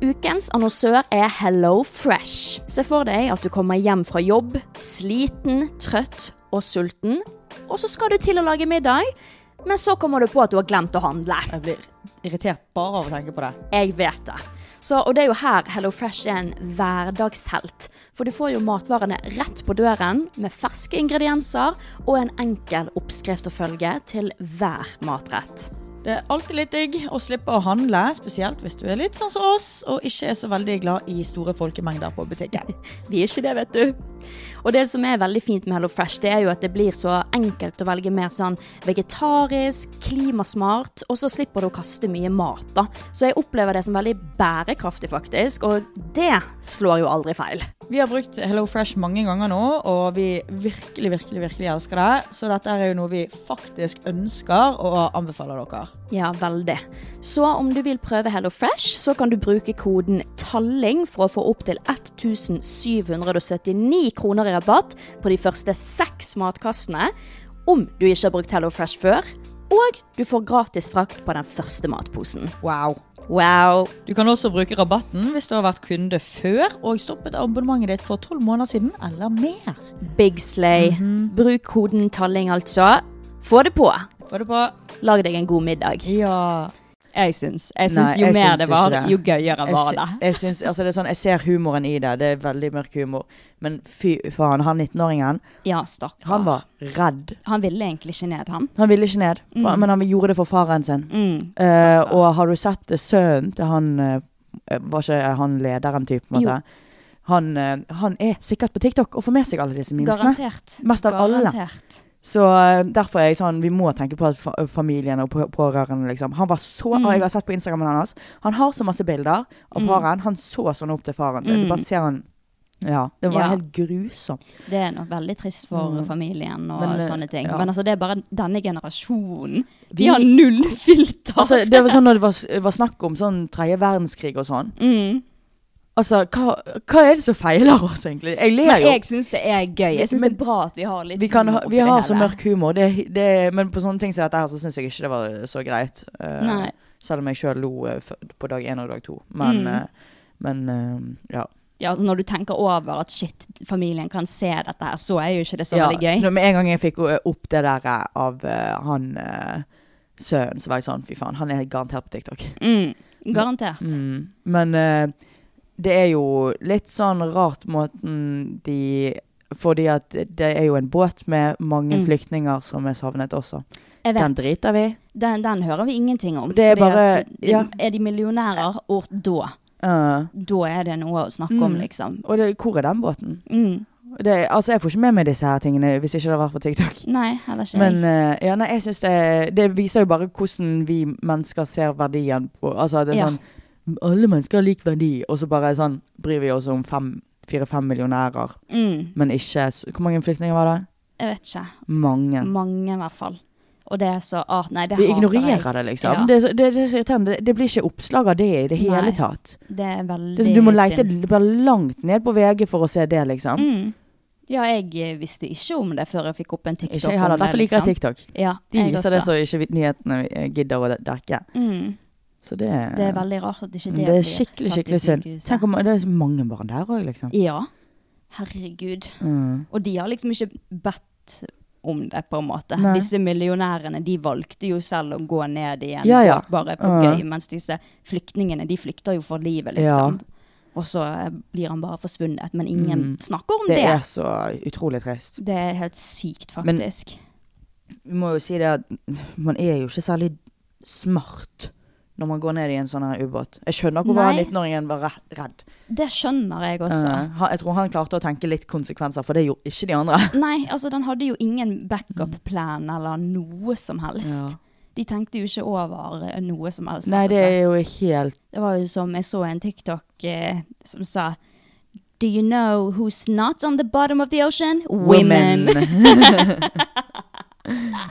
Speaker 2: Ukens annonsør er Hello Fresh. Se for deg at du kommer hjem fra jobb, sliten, trøtt og sulten. Og så skal du til å lage middag, men så kommer du på at du har glemt å handle.
Speaker 3: Jeg blir irritert bare av å tenke på det.
Speaker 2: Jeg vet det. Så, og det er jo her Hello Fresh er en hverdagshelt. For du får jo matvarene rett på døren med ferske ingredienser og en enkel oppskrift å følge til hver matrett.
Speaker 3: Det er alltid litt digg å slippe å handle, spesielt hvis du er litt sånn som oss og ikke er så veldig glad i store folkemengder på butikken.
Speaker 2: Vi er ikke det, vet du. Og det som er veldig fint med Hello Fresh, det er jo at det blir så enkelt å velge mer sånn vegetarisk, klimasmart, og så slipper du å kaste mye mat, da. Så jeg opplever det som veldig bærekraftig, faktisk, og det slår jo aldri feil.
Speaker 3: Vi har brukt Hello Fresh mange ganger nå, og vi virkelig, virkelig, virkelig elsker det. Så dette er jo noe vi faktisk ønsker og anbefaler dere.
Speaker 2: Ja, veldig. Så om du vil prøve Hello Fresh, så kan du bruke koden TALLING for å få opptil 1779 kroner i rabatt på de første seks matkassene, om du ikke har brukt Hello Fresh før, og du får gratis frakt på den første matposen.
Speaker 3: Wow.
Speaker 2: Wow.
Speaker 5: Du kan også bruke rabatten hvis du har vært kunde før og stoppet abonnementet ditt for tolv måneder siden eller mer.
Speaker 2: Big slay. Bruk koden talling, altså. Få det på.
Speaker 5: Få det på.
Speaker 2: Lag deg en god middag.
Speaker 5: Ja.
Speaker 2: Jeg syns, jeg
Speaker 3: Nei,
Speaker 2: syns jo
Speaker 3: jeg
Speaker 2: mer
Speaker 3: syns
Speaker 2: det
Speaker 3: ikke
Speaker 2: var,
Speaker 3: det.
Speaker 2: jo gøyere
Speaker 3: Jeg,
Speaker 2: var
Speaker 3: sy-
Speaker 2: det.
Speaker 3: jeg syns, altså det er sånn, jeg ser humoren i det. Det er veldig mørk humor. Men fy faen, han 19-åringen,
Speaker 2: Ja, stakkar.
Speaker 3: han var redd.
Speaker 2: Han ville egentlig ikke ned, han.
Speaker 3: Han ville ikke ned, for,
Speaker 2: Mm.
Speaker 3: men han gjorde det for faren sin.
Speaker 2: Mm,
Speaker 3: Eh,
Speaker 2: stakkar.
Speaker 3: og har du sett det, sønnen til han eh, Var ikke han lederen, type? på en måte? Han, eh, han er sikkert på TikTok og får med seg alle disse memesene.
Speaker 2: Garantert.
Speaker 3: Mest av alle.
Speaker 2: Garantert.
Speaker 3: Så eh, derfor er jeg sånn, vi må tenke på at fa familien og på- pårørende, liksom. Han var så,
Speaker 2: Mm.
Speaker 3: og Jeg har sett på Instagramen hans, han har så masse bilder av
Speaker 2: Mm.
Speaker 3: faren. Han så sånn opp til faren sin.
Speaker 2: Mm.
Speaker 3: Du bare ser han Ja. Det var
Speaker 2: Ja.
Speaker 3: helt grusomt.
Speaker 2: Det er nok veldig trist for
Speaker 3: Mm.
Speaker 2: familien og
Speaker 3: Men, eh,
Speaker 2: sånne ting.
Speaker 3: ja.
Speaker 2: Men altså, det er bare denne generasjonen. De
Speaker 3: Vi-
Speaker 2: har null filter.
Speaker 3: Altså, det var sånn når det var, s- var snakk om sånn tredje verdenskrig og sånn.
Speaker 2: mm.
Speaker 3: Altså, hva, hva er det som feiler oss, egentlig? Jeg ler
Speaker 2: Men
Speaker 3: jo.
Speaker 2: jeg syns det er gøy. Jeg syns det
Speaker 3: Men-
Speaker 2: er bra at vi har litt
Speaker 3: vi, kan, ha-
Speaker 2: humor
Speaker 3: vi
Speaker 2: oppi det
Speaker 3: har
Speaker 2: hele.
Speaker 3: så mørk humor, det, det, men på sånne ting som dette her, så syns jeg ikke det var så greit. Eh,
Speaker 2: Nei.
Speaker 3: Selv om jeg sjøl lo eh, f- på dag én og dag to. Men,
Speaker 2: Mm.
Speaker 3: eh, men eh, ja.
Speaker 2: Ja, altså når du tenker over at shit, familien kan se dette her, så er jo ikke det så
Speaker 3: ja.
Speaker 2: veldig gøy.
Speaker 3: Når- Med en gang jeg fikk eh, opp det der eh, av eh, han eh, sønnen, så var jeg sånn fy faen, han er garantert på TikTok.
Speaker 2: Mm. Garantert.
Speaker 3: Mm. Men eh, det er jo litt sånn rart måten de Fordi at det er jo en båt med mange
Speaker 2: Mm.
Speaker 3: flyktninger som er savnet også.
Speaker 2: Jeg
Speaker 3: Den
Speaker 2: vet.
Speaker 3: driter vi.
Speaker 2: Den, den hører vi ingenting om.
Speaker 3: Det er
Speaker 2: fordi
Speaker 3: bare-
Speaker 2: at de,
Speaker 3: ja.
Speaker 2: Er de millionærer, og da,
Speaker 3: Eh,
Speaker 2: da er det noe å snakke om,
Speaker 3: Mm.
Speaker 2: liksom.
Speaker 3: og det, hvor er den båten?
Speaker 2: Mm.
Speaker 3: Det, altså, jeg får ikke med meg disse her tingene hvis ikke det var for TikTok.
Speaker 2: Nei, heller ikke.
Speaker 3: Men
Speaker 2: jeg.
Speaker 3: eh, ja, nei, jeg synes det, det viser jo bare hvordan vi mennesker ser verdien på Altså det er
Speaker 2: Ja.
Speaker 3: sånn Alle mennesker har lik verdi, og så bare sånn bryr vi oss om fem, fire-fem millionærer,
Speaker 2: mm.
Speaker 3: men ikke s- Hvor mange flyktninger var det?
Speaker 2: Jeg vet ikke.
Speaker 3: Mange.
Speaker 2: Mange, i hvert fall. Og det er så ah, Nei, det
Speaker 3: Vi
Speaker 2: hater
Speaker 3: ignorerer
Speaker 2: jeg.
Speaker 3: det, liksom.
Speaker 2: Ja.
Speaker 3: Det, er så- det, det, er så irriterende. det, det blir ikke oppslag av det i det hele
Speaker 2: Nei.
Speaker 3: tatt.
Speaker 2: Det er veldig
Speaker 3: Det, er sånn, du må lete
Speaker 2: synd.
Speaker 3: bare langt ned på VG for å se det, liksom.
Speaker 2: Mm. Ja, jeg eh, visste ikke om det før jeg fikk opp en TikTok.
Speaker 3: Ikke jeg heller.
Speaker 2: om det,
Speaker 3: Derfor liker jeg
Speaker 2: liksom.
Speaker 3: TikTok.
Speaker 2: Ja,
Speaker 3: De
Speaker 2: jeg
Speaker 3: viser det
Speaker 2: også.
Speaker 3: som ikke vi- nyhetene eh, gidder å de- dekke.
Speaker 2: Mm.
Speaker 3: Så det,
Speaker 2: Det er veldig rart at ikke
Speaker 3: Men
Speaker 2: det,
Speaker 3: det er
Speaker 2: blir
Speaker 3: skikkelig,
Speaker 2: satt i
Speaker 3: skikkelig synd.
Speaker 2: sykehuset.
Speaker 3: Tenk om det er så mange barn der òg, liksom.
Speaker 2: Ja. Herregud.
Speaker 3: Mm.
Speaker 2: Og de har liksom ikke bedt om det, på en måte.
Speaker 3: Nei.
Speaker 2: Disse millionærene de valgte jo selv å gå ned i en
Speaker 3: Ja, ja.
Speaker 2: båt bare for
Speaker 3: Ja.
Speaker 2: gøy, mens disse flyktningene de flykter jo for livet, liksom. Og så eh, blir han bare forsvunnet, men ingen
Speaker 3: Mm.
Speaker 2: snakker om
Speaker 3: Det
Speaker 2: det.
Speaker 3: er så utrolig trist.
Speaker 2: Det er helt sykt,
Speaker 3: Men-
Speaker 2: faktisk.
Speaker 3: Vi må jo si det at man er jo ikke særlig smart når man går ned i en sånn her ubåt. Jeg skjønner hvorfor han
Speaker 2: Nei.
Speaker 3: 19-åringen var re- redd.
Speaker 2: det skjønner jeg også.
Speaker 3: Eh, han- jeg tror han klarte å tenke litt konsekvenser, for det gjorde ikke de andre.
Speaker 2: Nei, altså den hadde jo
Speaker 3: Mm.
Speaker 2: ingen backup-plan eller noe som helst. De tenkte jo ikke over eh, noe som helst. rett
Speaker 3: Nei,
Speaker 2: og
Speaker 3: det
Speaker 2: slett.
Speaker 3: er jo helt
Speaker 2: Det var jo som jeg så en TikTok eh, som sa Do you know who's not on the bottom of the ocean? Women!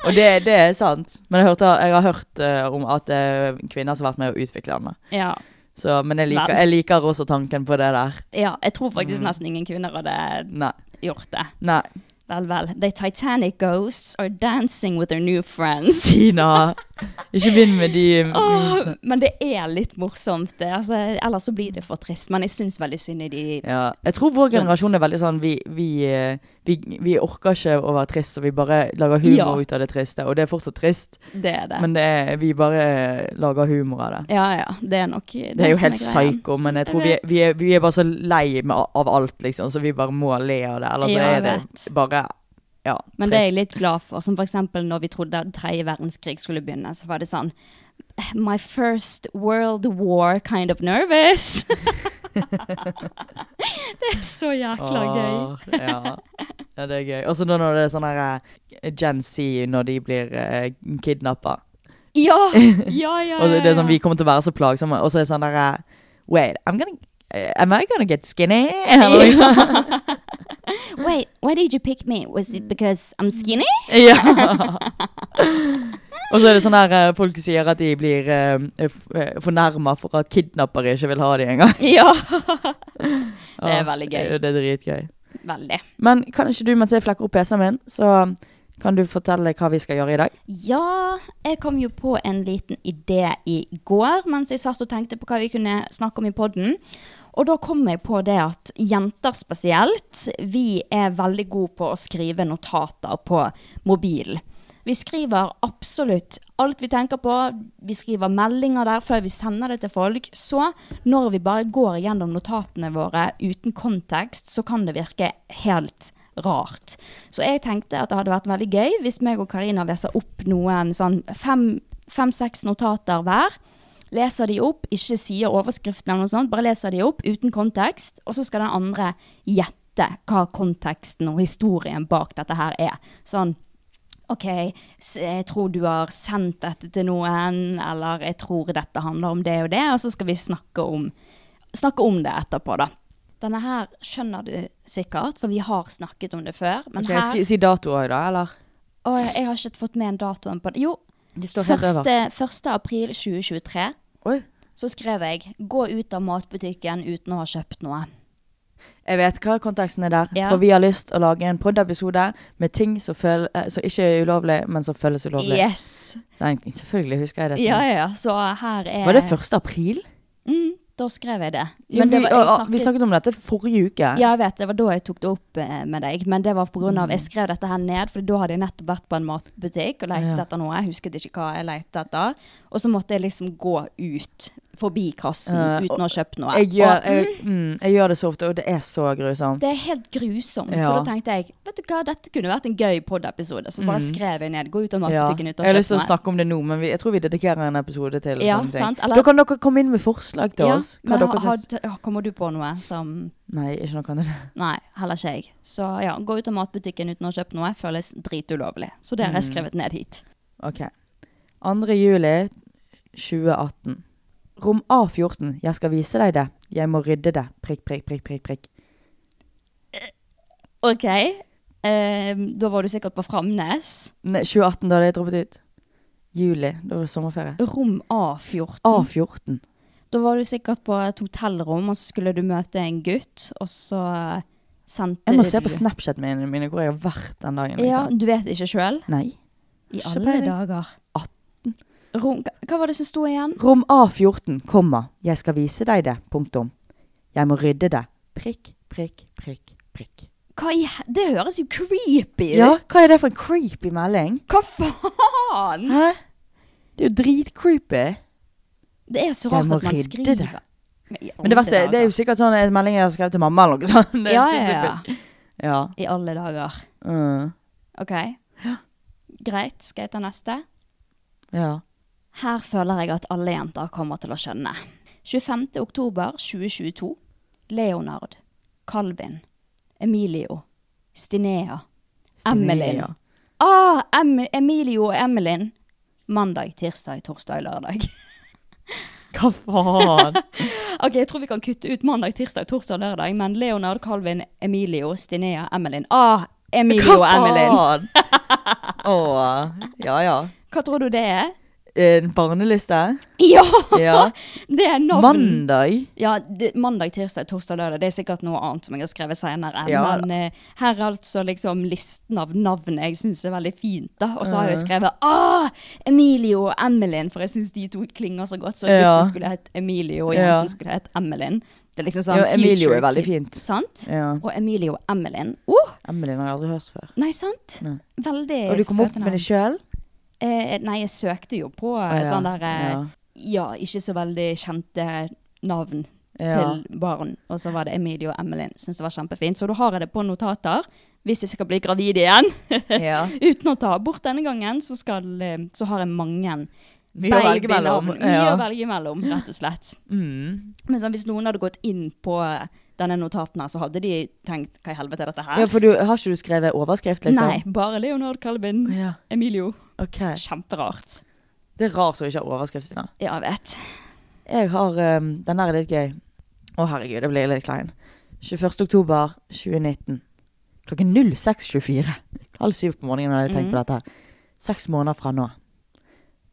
Speaker 3: og det, det er sant. Men jeg, hørte, jeg har hørt eh, om at det er kvinner som har vært med å utvikle den.
Speaker 2: Ja.
Speaker 3: Så, men jeg liker,
Speaker 2: Vel.
Speaker 3: jeg liker også tanken på det der.
Speaker 2: ja. Jeg tror faktisk
Speaker 3: Mm.
Speaker 2: nesten ingen kvinner hadde
Speaker 3: Nei.
Speaker 2: gjort det.
Speaker 3: Nei.
Speaker 2: Vel, vel. The Titanic ghosts are dancing with their new friends.
Speaker 3: Tina! Ikke begynn med de
Speaker 2: Åh, men det er litt morsomt. det. Altså, ellers så blir det for trist. Men jeg syns veldig synd i de
Speaker 3: ja. Jeg tror vår generasjon er veldig sånn vi, vi, eh, vi, vi orker ikke å være trist, så vi bare lager humor
Speaker 2: Ja.
Speaker 3: ut av det triste. Og det er fortsatt trist,
Speaker 2: Det er det.
Speaker 3: men det er, vi bare eh, lager humor av det.
Speaker 2: ja, ja. Det er nok
Speaker 3: Det er jo
Speaker 2: som
Speaker 3: helt
Speaker 2: greia.
Speaker 3: psyko, men jeg
Speaker 2: Jeg
Speaker 3: tror vi,
Speaker 2: vet.
Speaker 3: vi, er, vi er bare så lei med, av alt, liksom, så vi bare må le av det. Ellers
Speaker 2: Ja,
Speaker 3: så
Speaker 2: jeg
Speaker 3: er det
Speaker 2: vet.
Speaker 3: bare ja,
Speaker 2: Men det er jeg litt glad for. Som f.eks. når vi trodde at tredje verdenskrig skulle begynne, så var det sånn My first world war kind of nervous. det er så jækla
Speaker 3: Ah.
Speaker 2: gøy.
Speaker 3: Åh, ja. ja, det er gøy. Og så da når det er sånn her eh, Gen Z, når de blir eh, kidnappa.
Speaker 2: Ja, ja, ja.
Speaker 3: Og det, det er sånn,
Speaker 2: ja, ja.
Speaker 3: vi kommer til å være så plagsomme. Og så er det sånn der eh, Wait, I'm gonna eh, Am I gonna get skinny? Eller-
Speaker 2: Wait, why did you pick me? Was it because I'm skinny?
Speaker 3: ja. Og så er det sånn her eh, folk sier at de blir uh, fornærma for at kidnappere ikke vil ha de engang.
Speaker 2: Ja. det er veldig gøy.
Speaker 3: Ja, Det er dritgøy.
Speaker 2: Veldig.
Speaker 3: Men kan ikke du, mens jeg flekker opp PC-en min, så Kan du fortelle hva vi skal gjøre i dag?
Speaker 2: Ja, jeg kom jo på en liten idé i går mens jeg satt og tenkte på hva vi kunne snakke om i podden. Og da kom jeg på det at jenter spesielt, vi er veldig gode på å skrive notater på mobilen. Vi skriver absolutt alt vi tenker på. Vi skriver meldinger der før vi sender det til folk. Så når vi bare går gjennom notatene våre uten kontekst, så kan det virke helt rart. Så jeg tenkte at det hadde vært veldig gøy hvis meg og Karina leser opp noen sånn fem-seks notater hver. Leser de opp, ikke sier overskriften eller noe sånt, bare leser de opp uten kontekst. Og så skal den andre gjette hva konteksten og historien bak dette her er. Sånn OK, s- jeg tror du har sendt dette til noen, eller jeg tror dette handler om det og det, og så skal vi snakke om, snakke om det etterpå, da. Denne her skjønner du sikkert, for vi har snakket om det før. Men
Speaker 3: Ok,
Speaker 2: her
Speaker 3: skal jeg si dato òg, da? Eller?
Speaker 2: Å, jeg, jeg har ikke fått med datoen på det. Jo,
Speaker 3: De står helt
Speaker 2: 1.
Speaker 3: øverst.
Speaker 2: 1. april 2023
Speaker 3: Oi.
Speaker 2: så skrev jeg 'gå ut av matbutikken uten å ha kjøpt noe'.
Speaker 3: Jeg vet hva konteksten er der.
Speaker 2: Ja.
Speaker 3: For vi har lyst å lage en poddepisode med ting som, føl eh, som ikke er ulovlig, men som føles ulovlig.
Speaker 2: Yes!
Speaker 3: Den, selvfølgelig husker jeg det.
Speaker 2: Ja, ja, ja. Så her er
Speaker 3: Var det 1. april?
Speaker 2: Mm, da skrev jeg det.
Speaker 3: Ja,
Speaker 2: Men det
Speaker 3: vi,
Speaker 2: var,
Speaker 3: å,
Speaker 2: jeg
Speaker 3: å,
Speaker 2: snakket,
Speaker 3: vi snakket om dette forrige uke.
Speaker 2: Ja, jeg vet, det var da jeg tok det opp eh, med deg. Men det var pga.
Speaker 3: Mm.
Speaker 2: av jeg skrev dette her ned, for da hadde jeg nettopp vært på en matbutikk og lett
Speaker 3: Ja.
Speaker 2: etter noe. Jeg husket ikke hva jeg lette etter. Og så måtte jeg liksom gå ut forbi kassen
Speaker 3: Eh,
Speaker 2: uten å ha kjøpt noe.
Speaker 3: Jeg gjør,
Speaker 2: Og- mm,
Speaker 3: jeg, mm, jeg gjør det så ofte, og det er så grusomt.
Speaker 2: Det er helt grusomt. Så
Speaker 3: Ja.
Speaker 2: da tenkte jeg vet du hva, dette kunne vært en gøy pod-episode. Så bare skrev jeg ned. Gå ut av
Speaker 3: Mm. Ja.
Speaker 2: matbutikken
Speaker 3: Jeg
Speaker 2: uten å
Speaker 3: har lyst til
Speaker 2: kjøpe
Speaker 3: å
Speaker 2: noe.
Speaker 3: snakke om det nå, men vi, jeg tror vi dedikerer en episode til.
Speaker 2: Ja,
Speaker 3: sånne ting.
Speaker 2: sant, eller-
Speaker 3: Da kan dere komme inn med forslag til
Speaker 2: Ja,
Speaker 3: oss. Hva
Speaker 2: men
Speaker 3: dere
Speaker 2: ha,
Speaker 3: syns-
Speaker 2: ha, ja, kommer du på noe som
Speaker 3: Nei, ikke noe annet.
Speaker 2: Nei, heller ikke jeg. Så ja, gå ut av matbutikken uten å kjøpe noe føles dritulovlig. Så det har
Speaker 3: Mm.
Speaker 2: jeg skrevet ned hit.
Speaker 3: Ok. 2. juli 2018. Rom A14. Jeg skal vise deg det. Jeg må rydde det. Prikk, prikk, prikk, prikk. prikk.
Speaker 2: OK. Eh, da var du sikkert på Framnes.
Speaker 3: Nei, 2018, da hadde jeg droppet ut. Juli. Da var det sommerferie.
Speaker 2: Rom A14.
Speaker 3: A14.
Speaker 2: Da var du sikkert på et hotellrom, og så skulle du møte en gutt, og så sendte
Speaker 3: Jeg må se på
Speaker 2: du-
Speaker 3: Snapchat mine, mine hvor jeg har vært den dagen.
Speaker 2: Ja,
Speaker 3: Liksom.
Speaker 2: du vet ikke sjøl?
Speaker 3: Nei.
Speaker 2: I
Speaker 3: Ikke
Speaker 2: alle
Speaker 3: peiling.
Speaker 2: dager. 18. Rom, hva var det som sto igjen?
Speaker 3: Rom A14, komma. Jeg skal vise deg det. Punktum. Jeg må rydde det. Prikk, prikk, prikk, prikk.
Speaker 2: Hva i, he- det høres jo creepy ut!
Speaker 3: Ja, hva er det for en creepy melding?
Speaker 2: Hva faen?!
Speaker 3: Hæ? Det er jo dritcreepy.
Speaker 2: Det er så
Speaker 3: Jeg
Speaker 2: rart
Speaker 3: må
Speaker 2: at man
Speaker 3: rydde
Speaker 2: skriver
Speaker 3: det.
Speaker 2: i alle
Speaker 3: Men det verste, det er jo
Speaker 2: dager.
Speaker 3: sikkert sånn en melding jeg har skrevet til mamma eller noe sånt. Det er
Speaker 2: Ja, ja, ja.
Speaker 3: typisk. ja.
Speaker 2: I alle dager.
Speaker 3: Mm.
Speaker 2: OK. Greit, skal jeg ta neste?
Speaker 3: ja.
Speaker 2: Her føler jeg at alle jenter kommer til å skjønne. 25. oktober 2022. Leonard. Calvin. Emilio. Stinea. Emmelin.
Speaker 3: Stinea.
Speaker 2: Ah, em Emilio og Emilin. Mandag, tirsdag, torsdag, lørdag.
Speaker 3: Hva faen?
Speaker 2: Ok, Jeg tror vi kan kutte ut mandag, tirsdag, torsdag, lørdag. Men Leonard, Calvin, Emilio, Stinea, Emilin. Ah, Emilio og Emilin.
Speaker 3: Åh, ja ja.
Speaker 2: Hva tror du det er?
Speaker 3: En barneliste?
Speaker 2: Ja!
Speaker 3: Ja.
Speaker 2: Det er navn.
Speaker 3: Mandag?
Speaker 2: Ja, det, mandag, tirsdag, torsdag, lørdag. Det er sikkert noe annet som jeg har skrevet senere.
Speaker 3: Ja.
Speaker 2: Men eh, her er altså liksom listen av navn jeg syns er veldig fint, da. Og så har
Speaker 3: Mm.
Speaker 2: jeg skrevet ah, Emilio og Emilin, for jeg syns de to klinger så godt. Så
Speaker 3: Ja.
Speaker 2: gutten skulle hett Emilio, og
Speaker 3: Ja.
Speaker 2: jenten skulle hett Emilin. Det er liksom sånn
Speaker 3: Ja, Emilio
Speaker 2: future
Speaker 3: er veldig
Speaker 2: kid.
Speaker 3: fint.
Speaker 2: Sant?
Speaker 3: Ja.
Speaker 2: Og Emilio og Emilin. Oh,
Speaker 3: Emilin har jeg aldri hørt før.
Speaker 2: nei, sant?
Speaker 3: Nei.
Speaker 2: Veldig
Speaker 3: Og du kom opp
Speaker 2: søte navn.
Speaker 3: med det sjøl?
Speaker 2: Eh, nei, jeg søkte jo på eh,
Speaker 3: Å, ja.
Speaker 2: sånn der eh,
Speaker 3: Ja.
Speaker 2: ja, ikke så veldig kjente navn
Speaker 3: Ja.
Speaker 2: eh, til barn. Og så var det Emilie og Emilyn. Syns det var kjempefint. Så da har jeg det på notater. Hvis jeg skal bli gravid igjen,
Speaker 3: Ja.
Speaker 2: uten å ta abort denne gangen, så, skal, eh, så har jeg mange
Speaker 3: Mye å velge
Speaker 2: babynavn.
Speaker 3: mellom,
Speaker 2: Mye
Speaker 3: ja.
Speaker 2: å velge mellom, rett og slett.
Speaker 3: Mm.
Speaker 2: Men sånn, hvis noen hadde gått inn på denne notaten her, så hadde de tenkt hva i helvete er dette her?
Speaker 3: ja, for du har ikke du skrevet overskrift, liksom?
Speaker 2: Nei, bare Leonard Calvin.
Speaker 3: Ja.
Speaker 2: Emilio.
Speaker 3: Ok.
Speaker 2: Kjemperart.
Speaker 3: Det er rart å ikke ha overskrift, Stina.
Speaker 2: Ja, jeg vet.
Speaker 3: Jeg har um, Den der er litt gøy. Å, herregud, det blir litt klein. 21. oktober 2019. Klokken 06.24. Halv syv på morgenen hadde jeg tenkt på dette her. Seks måneder fra nå.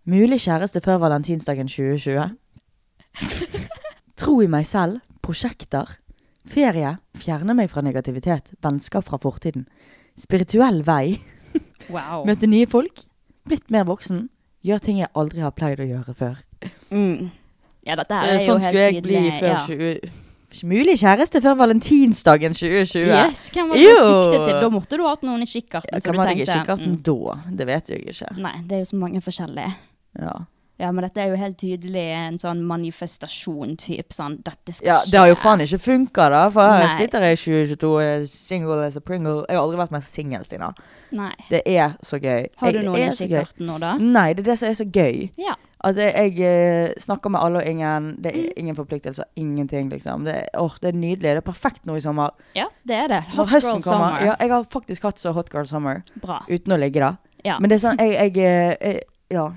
Speaker 3: Mulig kjæreste før valentinsdagen 2020. Tro i meg selv. Prosjekter. Ferie. Fjerne meg fra negativitet. Vennskap fra fortiden. Spirituell vei.
Speaker 2: Wow.
Speaker 3: Møte nye folk. Blitt mer voksen. Gjør ting jeg aldri har pleid å gjøre før.
Speaker 2: Mm. Ja, dette
Speaker 3: Så,
Speaker 2: her er jo
Speaker 3: sånn
Speaker 2: helt
Speaker 3: skulle jeg bli
Speaker 2: tydelig,
Speaker 3: før
Speaker 2: ja.
Speaker 3: 20... Ikke mulig kjæreste før valentinsdagen 2020.
Speaker 2: Yes, hvem var det
Speaker 3: Jo.
Speaker 2: du siktet til? Da måtte du ha hatt noen i kikkerten. så du
Speaker 3: Hvem
Speaker 2: Mm.
Speaker 3: hadde jeg i
Speaker 2: tenkte,
Speaker 3: kikkerten sånn da? Det vet jeg ikke.
Speaker 2: mm, Nei, det er jo så mange forskjellige.
Speaker 3: Ja.
Speaker 2: Ja, men dette er jo helt tydelig en sånn manifestasjon-typ. Sånn, dette skal
Speaker 3: ja, Det har jo faen ikke funka, da. For her
Speaker 2: Nei.
Speaker 3: sitter jeg i 2022 er single as a pringle. Jeg har aldri vært mer singel, Stina.
Speaker 2: Nei.
Speaker 3: Det er så gøy.
Speaker 2: Har du
Speaker 3: Jeg-
Speaker 2: noen
Speaker 3: jeg
Speaker 2: i
Speaker 3: er så gøy. Mm.
Speaker 2: kikkerten nå, da?
Speaker 3: Nei, det er det som er så gøy.
Speaker 2: Ja.
Speaker 3: At jeg, jeg eh, snakker med alle og ingen. Det
Speaker 2: Mm.
Speaker 3: er ingen forpliktelser. Ingenting, liksom. Det, er- åh, det er nydelig. Det er perfekt nå i sommer.
Speaker 2: ja, det er det. Hot
Speaker 3: Når
Speaker 2: girl summer.
Speaker 3: Ja, jeg har faktisk hatt så hot girl summer
Speaker 2: Bra.
Speaker 3: uten å ligge, da.
Speaker 2: Ja,
Speaker 3: Men det er sånn jeg, jeg, eh, jeg Ja.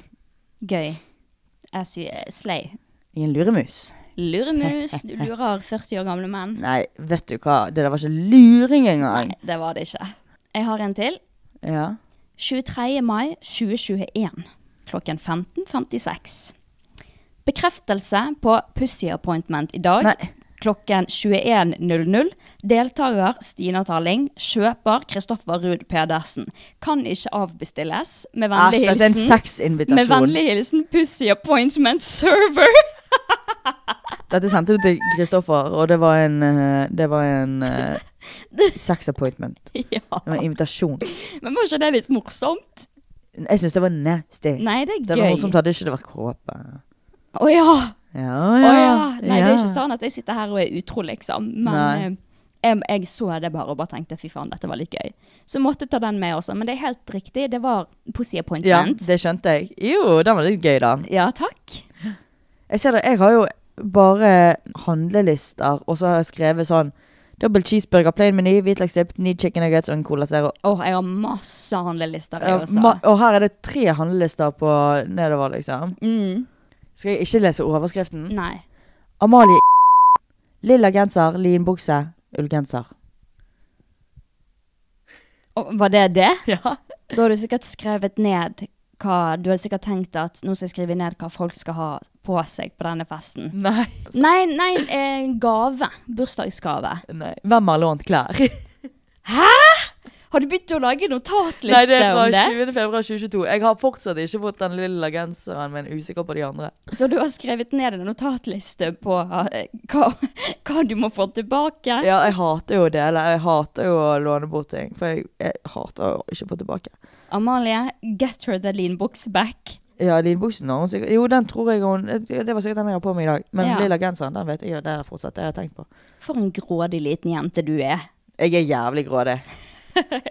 Speaker 2: gøy. Jeg sier slay.
Speaker 3: Ingen luremus.
Speaker 2: Luremus, du lurer 40 år gamle menn.
Speaker 3: Nei, vet du hva. Det der var ikke luring engang.
Speaker 2: Nei, det var det ikke. Jeg har en til.
Speaker 3: Ja.
Speaker 2: 23. mai 2021 klokken 15.56. Bekreftelse på Pussy Appointment i dag
Speaker 3: Nei.
Speaker 2: klokken 21.00. Deltaker Stina Talling. Kjøper Kristoffer Ruud Pedersen. Kan ikke avbestilles. Med vennlig
Speaker 3: Æsj, det er en
Speaker 2: hilsen Med
Speaker 3: sexinvitasjon.
Speaker 2: vennlig hilsen Pussy Appointment Server.
Speaker 3: Dette sendte du til Kristoffer, og det var en eh, Det var en eh, sex appointment.
Speaker 2: ja.
Speaker 3: Det var en invitasjon.
Speaker 2: Men var ikke det litt morsomt?
Speaker 3: Jeg syns det var nasty.
Speaker 2: Nei, det
Speaker 3: Det
Speaker 2: er
Speaker 3: var
Speaker 2: gøy.
Speaker 3: morsomt, hadde ikke det vært kåpe.
Speaker 2: Å ja.
Speaker 3: Ja,
Speaker 2: Å ja. Nei, det er ikke sånn at jeg sitter her og er utro, liksom.
Speaker 3: Nei.
Speaker 2: Men eh, jeg, jeg så det bare og bare tenkte fy faen, dette var litt gøy. Så jeg måtte ta den med også. Men det er helt riktig, det var Pussy
Speaker 3: Ja,
Speaker 2: Appointment. Ja,
Speaker 3: det skjønte jeg. Jo, den var litt gøy, da.
Speaker 2: takk.
Speaker 3: Jeg ser det, jeg har jo bare handlelister, og så har jeg skrevet sånn Double cheeseburger, plain meny, hvitløksdipp, ni chicken nuggets og en cola zero.
Speaker 2: Åh, jeg har masse handlelister,
Speaker 3: Ja,
Speaker 2: jeg også.
Speaker 3: ma- og her er det tre handlelister på nedover, liksom.
Speaker 2: mm.
Speaker 3: Skal jeg ikke lese overskriften?
Speaker 2: Nei.
Speaker 3: Amalie Lilla genser, linbukse, ullgenser.
Speaker 2: Å, var det det? Da har du sikkert skrevet ned hva Du har sikkert tenkt at nå skal jeg skrive ned hva folk skal ha på seg på denne festen.
Speaker 3: Nei.
Speaker 2: Nei, nei, eh, gave. Bursdagsgave.
Speaker 3: Nei. Hvem har lånt klær?
Speaker 2: Har du begynt å lage notatliste
Speaker 3: Nei, det er fra
Speaker 2: om det?
Speaker 3: 20. februar 2022. Jeg har fortsatt ikke fått den lilla genseren, men er usikker på de andre.
Speaker 2: Så du har skrevet ned en notatliste på eh, hva, hva du må få tilbake?
Speaker 3: Ja, jeg hater jo å dele. Jeg hater jo å låne bort ting. For jeg, jeg hater å ikke få tilbake.
Speaker 2: Amalie, get her the lean box back.
Speaker 3: Ja, linbuksen har hun sikkert Jo, den tror jeg hun Det var sikkert den jeg har på meg i dag. Men
Speaker 2: Ja.
Speaker 3: lilla genseren, den vet jeg jo. Det er fortsatt det jeg har tenkt på.
Speaker 2: For en grådig liten jente du er.
Speaker 3: Jeg er jævlig grådig.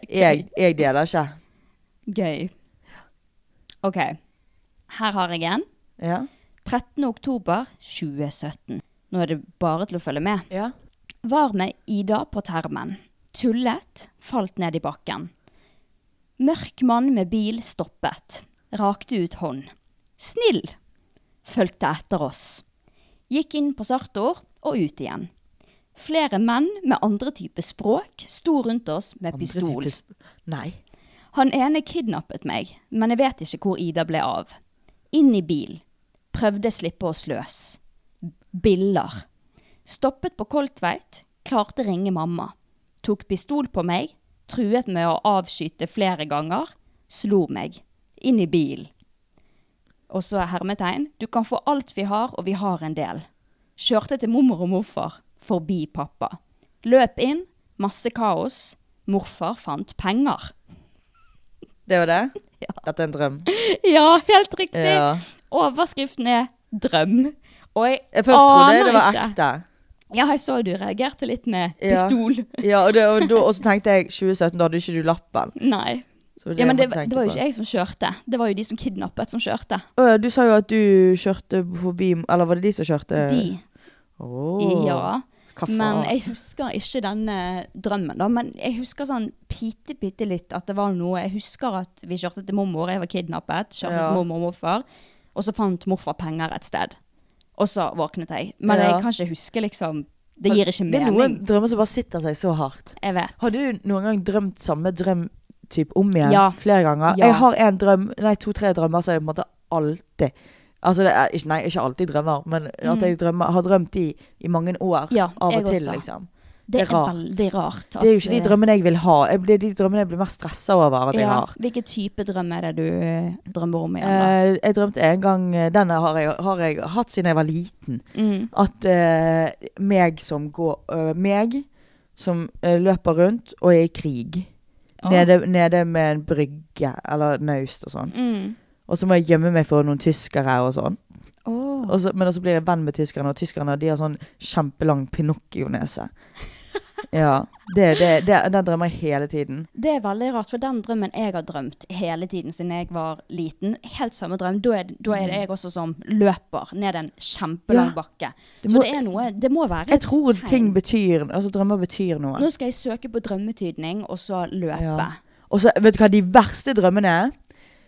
Speaker 3: jeg, jeg deler ikke.
Speaker 2: Gøy. OK. Her har jeg en.
Speaker 3: Ja.
Speaker 2: 13. oktober 2017. Nå er det bare til å følge med.
Speaker 3: ja.
Speaker 2: Var med Ida på termen. Tullet, falt ned i bakken. Mørk mann med bil stoppet. Rakte ut hånd. Snill! Fulgte etter oss. Gikk inn på Sartor og ut igjen. Flere menn med andre type språk sto rundt oss med pistol.
Speaker 3: Nei.
Speaker 2: Han ene kidnappet meg, men jeg vet ikke hvor Ida ble av. Inn i bil. Prøvde slippe oss løs. Biller. Stoppet på Kolltveit. Klarte ringe mamma. Tok pistol på meg. Truet med å avskyte flere ganger. Slo meg. Inn i bilen. Og så er hermetegn. Du kan få alt vi har, og vi har en del. Kjørte til mormor og morfar. Forbi pappa. Løp inn. Masse kaos. Morfar fant penger.
Speaker 3: Det var det? Dette er en drøm.
Speaker 2: Ja, helt riktig.
Speaker 3: Ja.
Speaker 2: Overskriften er 'drøm'. Og jeg,
Speaker 3: Jeg først trodde
Speaker 2: aner
Speaker 3: det var
Speaker 2: ikke.
Speaker 3: ekte.
Speaker 2: Ja, jeg så du reagerte litt med
Speaker 3: Ja.
Speaker 2: pistol.
Speaker 3: Ja, og, det, og, da, og så tenkte jeg 2017, da hadde ikke du lappen.
Speaker 2: Nei.
Speaker 3: Så det
Speaker 2: Ja, men
Speaker 3: jeg
Speaker 2: det,
Speaker 3: måtte tenke
Speaker 2: det var jo
Speaker 3: på.
Speaker 2: ikke jeg som kjørte. Det var jo de som kidnappet, som kjørte.
Speaker 3: Å ja, du sa jo at du kjørte forbi Eller var det de som kjørte?
Speaker 2: De.
Speaker 3: Eh, Åh,
Speaker 2: Ja.
Speaker 3: Hva faen?
Speaker 2: Men jeg husker ikke denne drømmen, da. Men jeg husker sånn pite, bitte litt at det var noe. Jeg husker at vi kjørte til mormor, jeg var kidnappet. Kjørte
Speaker 3: Ja.
Speaker 2: til mormor og morfar. Og så fant morfar penger et sted. Og så våknet jeg. Men
Speaker 3: Ja.
Speaker 2: jeg kan ikke huske, liksom. Det gir ikke
Speaker 3: Det er
Speaker 2: mening.
Speaker 3: noen drømmer som bare sitter seg så hardt.
Speaker 2: Jeg vet.
Speaker 3: Hadde du noen gang drømt samme drøm typ om igjen?
Speaker 2: Ja.
Speaker 3: Flere ganger?
Speaker 2: Ja.
Speaker 3: Jeg har en drøm, nei, to-tre drømmer som jeg på en måte alltid Altså, det er ikke, nei, ikke alltid drømmer, men at jeg drømmer, har drømt de i mange år.
Speaker 2: Mm. Ja,
Speaker 3: av
Speaker 2: jeg
Speaker 3: og til,
Speaker 2: også. eh,
Speaker 3: liksom.
Speaker 2: Det
Speaker 3: Det
Speaker 2: er
Speaker 3: er rart.
Speaker 2: veldig rart.
Speaker 3: Det er jo ikke de drømmene jeg vil ha. Jeg, det er de drømmene jeg blir mest stressa over at jeg har.
Speaker 2: Hvilken type drøm er det du eh, drømmer om igjen? da?
Speaker 3: Eh, jeg drømte en gang eh, Denne har jeg, har jeg hatt siden jeg var liten.
Speaker 2: Mm.
Speaker 3: At eh, meg som går eh, Meg som eh, løper rundt og er i krig.
Speaker 5: Ah.
Speaker 3: Nede, nede med en brygge eller naust og sånn.
Speaker 2: Mm.
Speaker 3: Og så må jeg gjemme meg for noen tyskere og sånn.
Speaker 2: Åh.
Speaker 3: Og så, men så blir jeg venn med tyskerne, og tyskerne de har sånn kjempelang pinocchio-nese. Ja. Det, det, det, den drømmer jeg hele tiden.
Speaker 2: Det er veldig rart, for den drømmen jeg har drømt hele tiden siden jeg var liten, helt samme drøm, da er, da er det jeg også som løper ned en kjempelang
Speaker 3: Mm. Ja.
Speaker 2: bakke.
Speaker 3: Det
Speaker 2: Så
Speaker 3: må-
Speaker 2: det er noe Det må være
Speaker 3: Jeg
Speaker 2: et
Speaker 3: tror
Speaker 2: tegn.
Speaker 3: ting betyr Altså drømmer betyr noe.
Speaker 2: Nå skal jeg søke på drømmetydning, og så løpe. Ja!
Speaker 3: Ja. Og så, vet du hva de verste drømmene er?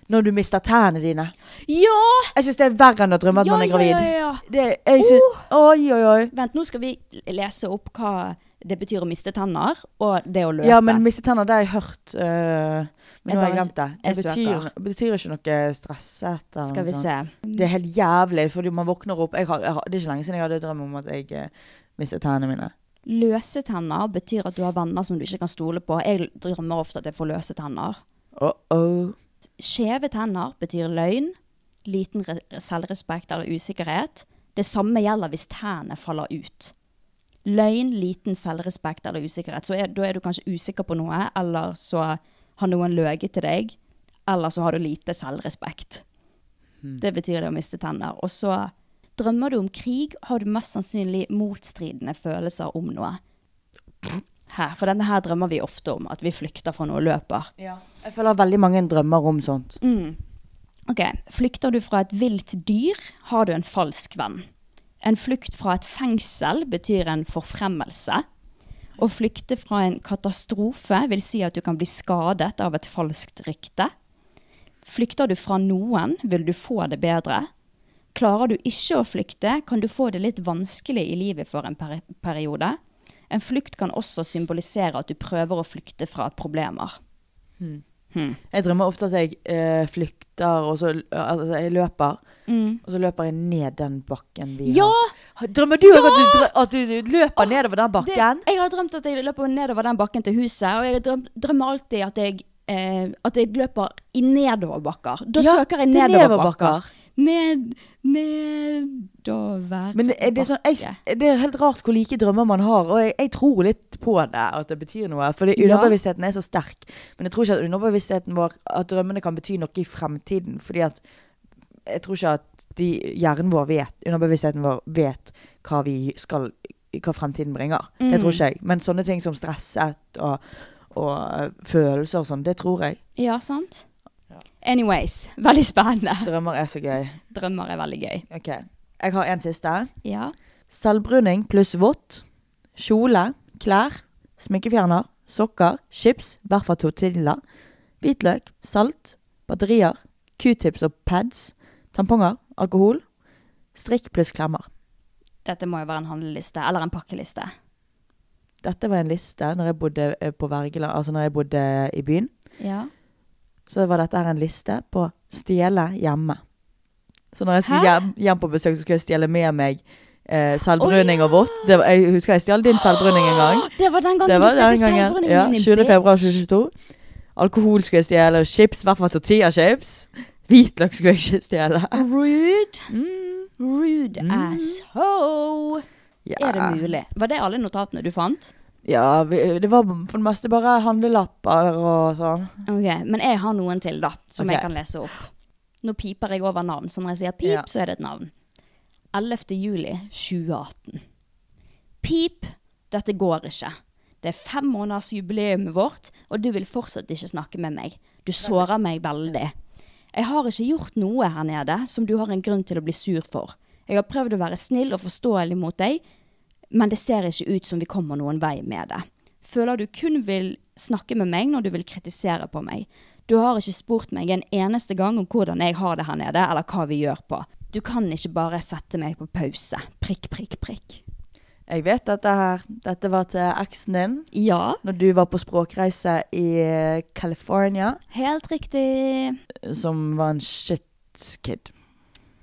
Speaker 3: Når du mister tærne dine.
Speaker 2: Ja,
Speaker 3: Jeg syns det er verre enn å drømme at
Speaker 2: ja,
Speaker 3: man er
Speaker 2: ja,
Speaker 3: gravid.
Speaker 2: ja, ja.
Speaker 3: Det, jeg synes,
Speaker 2: Oh!
Speaker 3: Oi, oi, oi.
Speaker 2: Vent, nå skal vi lese opp hva det betyr å miste tenner, og det å løpe.
Speaker 3: Ja, men miste tenner, det har jeg hørt. øh,
Speaker 2: Jeg
Speaker 3: men nå har jeg
Speaker 2: bare-
Speaker 3: glemt det. Det
Speaker 2: jeg
Speaker 3: betyr,
Speaker 2: søker.
Speaker 3: betyr ikke noe stresset. eller
Speaker 2: Skal
Speaker 3: noe
Speaker 2: vi
Speaker 3: sånt.
Speaker 2: se.
Speaker 3: Det er helt jævlig, fordi man våkner opp jeg har, jeg har, Det er ikke lenge siden jeg hadde drøm om at jeg eh, mistet tennene mine.
Speaker 2: Løse tenner betyr at du har venner som du ikke kan stole på. Jeg drømmer ofte at jeg får løse tenner.
Speaker 3: Oh, oh.
Speaker 2: Skjeve tenner betyr løgn, liten re selvrespekt eller usikkerhet. Det samme gjelder hvis tennene faller ut. Løgn, liten selvrespekt eller usikkerhet. Så er, da er du kanskje usikker på noe, eller så har noen løyet til deg, eller så har du lite selvrespekt. Det betyr det å miste tenner. Og så drømmer du om krig, har du mest sannsynlig motstridende følelser om noe. Her, for denne her drømmer vi ofte om, at vi flykter fra noe og løper.
Speaker 3: Jeg føler veldig mange drømmer om sånt.
Speaker 2: Mm. Ok, Flykter du fra et vilt dyr, har du en falsk venn. En flukt fra et fengsel betyr en forfremmelse. Å flykte fra en katastrofe vil si at du kan bli skadet av et falskt rykte. Flykter du fra noen, vil du få det bedre. Klarer du ikke å flykte, kan du få det litt vanskelig i livet for en peri periode. En flukt kan også symbolisere at du prøver å flykte fra problemer. Hmm.
Speaker 3: Jeg drømmer ofte at jeg eh, flykter, og så altså, jeg løper. Og så løper jeg ned den bakken vi
Speaker 2: Mm. Ja! Ah,
Speaker 3: har. Drømmer du òg at, du drø- at du- du løper nedover den
Speaker 2: Det,
Speaker 3: bakken?
Speaker 2: jeg har drømt at jeg løper nedover den bakken til huset, og jeg drøm, drømmer alltid at jeg, eh, at jeg løper i nedoverbakker. Da
Speaker 3: Ja,
Speaker 2: søker jeg
Speaker 3: det er
Speaker 2: nedoverbakker.
Speaker 3: nedoverbakker.
Speaker 2: Ned, nedover
Speaker 3: Men det, er- det, er sånn, jeg, det er helt rart hvor like drømmer man har, og jeg, jeg tror litt på det, at det betyr noe. Fordi
Speaker 2: Ja.
Speaker 3: underbevisstheten er så sterk. Men jeg tror ikke at underbevisstheten vår, at drømmene kan bety noe i fremtiden. Fordi at jeg tror ikke at de, hjernen vår vet, underbevisstheten vår vet hva vi skal, hva fremtiden bringer. Det tror ikke jeg. Men sånne ting som stresset og, og følelser og sånn, det tror jeg.
Speaker 2: Ja, sant? Anyways, veldig spennende.
Speaker 3: Drømmer er så gøy.
Speaker 2: Drømmer er veldig gøy.
Speaker 3: Ok, jeg har en siste.
Speaker 2: Ja.
Speaker 3: Selvbruning pluss vått. Kjole, klær, sminkefjerner, sokker, chips, i hvert fall tortilla. Hvitløk, salt, batterier, q-tips og pads. Tamponger, alkohol. Strikk pluss klemmer.
Speaker 2: Dette må jo være en handleliste, eller en pakkeliste.
Speaker 3: Dette var en liste når jeg bodde eh, på Vergeland, altså når jeg bodde i byen.
Speaker 2: Ja.
Speaker 3: Så var dette her en liste på stjele hjemme. Så når jeg skulle
Speaker 2: Hæ?
Speaker 3: hjem, hjem på besøk, så skulle jeg stjele med meg eh, selvbruning og vått. Det var, jeg husker jeg stjal din selvbruning en gang.
Speaker 2: Det var den gangen
Speaker 3: Det var
Speaker 2: du
Speaker 3: den
Speaker 2: stelte
Speaker 3: gangen.
Speaker 2: selvbrunnen
Speaker 3: Ja,
Speaker 2: min i
Speaker 3: 20.
Speaker 2: bed.
Speaker 3: februar 2022. Alkohol skulle jeg stjele, og chips, i hvert fall tortilla-chips. Hvitløk skulle jeg ikke stjele.
Speaker 2: Rude.
Speaker 3: Mm.
Speaker 2: Rude asshole.
Speaker 3: Ja.
Speaker 2: Er det mulig? Var det alle notatene du fant?
Speaker 3: Ja, vi, det var for det meste bare handlelapper og sånn.
Speaker 2: Ok, Men jeg har noen til, da, som
Speaker 3: Ok.
Speaker 2: jeg kan lese opp. Nå piper jeg over navn, så når jeg sier pip,
Speaker 3: Ja.
Speaker 2: så er det et navn. 11. juli 2018. Pip, dette går ikke. Det er fem måneders jubileum vårt, og du vil fortsatt ikke snakke med meg. Du sårer meg veldig. Jeg har ikke gjort noe her nede som du har en grunn til å bli sur for. Jeg har prøvd å være snill og forståelig mot deg, men det ser ikke ut som vi kommer noen vei med det. Føler du kun vil snakke med meg når du vil kritisere på meg. Du har ikke spurt meg en eneste gang om hvordan jeg har det her nede, eller hva vi gjør på. Du kan ikke bare sette meg på pause. Prikk, prikk, prikk.
Speaker 3: Jeg vet dette her. Dette var til eksen din
Speaker 2: Ja,
Speaker 3: når du var på språkreise i eh, California,
Speaker 2: helt riktig.
Speaker 3: som var en shit kid.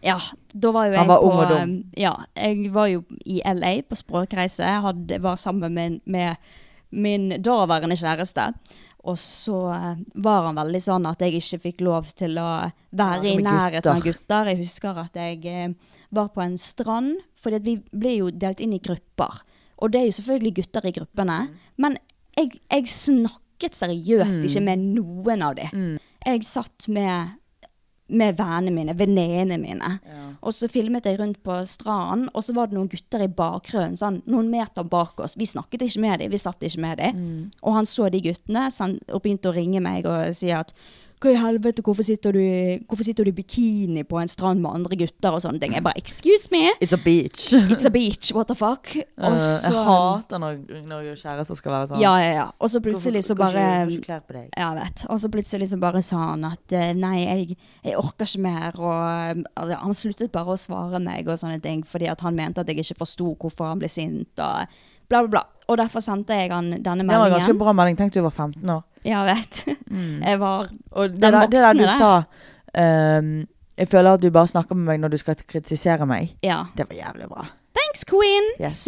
Speaker 2: Ja, da var jo jeg
Speaker 3: Han var
Speaker 2: på, eh,
Speaker 3: ung og dum.
Speaker 2: Ja, jeg var jo i LA på språkreise. Jeg hadde, var sammen med, med min daværende kjæreste. Og så eh, var han veldig sånn at jeg ikke fikk lov til å være
Speaker 3: Være
Speaker 2: i
Speaker 3: med
Speaker 2: nærheten av gutter. Jeg husker at jeg eh, var på en strand, for vi ble jo delt inn i grupper. Og det er jo selvfølgelig gutter i gruppene. Men jeg, jeg snakket seriøst ikke med noen av dem. Jeg satt med med vennene mine, venninnene mine. Og så filmet jeg rundt på stranden, og så var det noen gutter i bakgrunnen, sånn, noen meter bak oss. Vi snakket ikke med dem, vi satt ikke med dem.
Speaker 3: Mm.
Speaker 2: Og han så de guttene sen- og begynte å ringe meg og si at hva i helvete, hvorfor sitter du, i- hvorfor sitter du i bikini på en strand med andre gutter og sånne ting? Jeg bare, excuse me,
Speaker 3: It's a beach.
Speaker 2: it's a beach, what the fuck? Og så,
Speaker 3: Eh, jeg hater når, når kjærester skal være sånn.
Speaker 2: ja, ja, ja. Og så plutselig så
Speaker 3: Hvorfor- hvorfor
Speaker 2: bare...
Speaker 3: ikke- hvorfor ikke klær på deg?
Speaker 2: Ja, jeg vet. Og så plutselig så bare sa han at eh, nei, jeg, jeg orker ikke mer. Og eh, altså, han sluttet bare å svare meg og sånne ting, fordi at han mente at jeg ikke forsto hvorfor han ble sint og bla, bla, bla. Og derfor sendte jeg han denne
Speaker 3: Det var en ganske Mm.
Speaker 2: meldingen.
Speaker 3: bra melding. Tenk du var 15 år.
Speaker 2: Ja, jeg vet. Jeg var
Speaker 3: Og det,
Speaker 2: Den
Speaker 3: der, det der
Speaker 2: voksne
Speaker 3: du
Speaker 2: der.
Speaker 3: sa ehm, Jeg føler at du bare snakker med meg når du skal kritisere meg.
Speaker 2: Ja.
Speaker 3: Det var jævlig bra.
Speaker 2: Thanks, queen!
Speaker 3: Yes.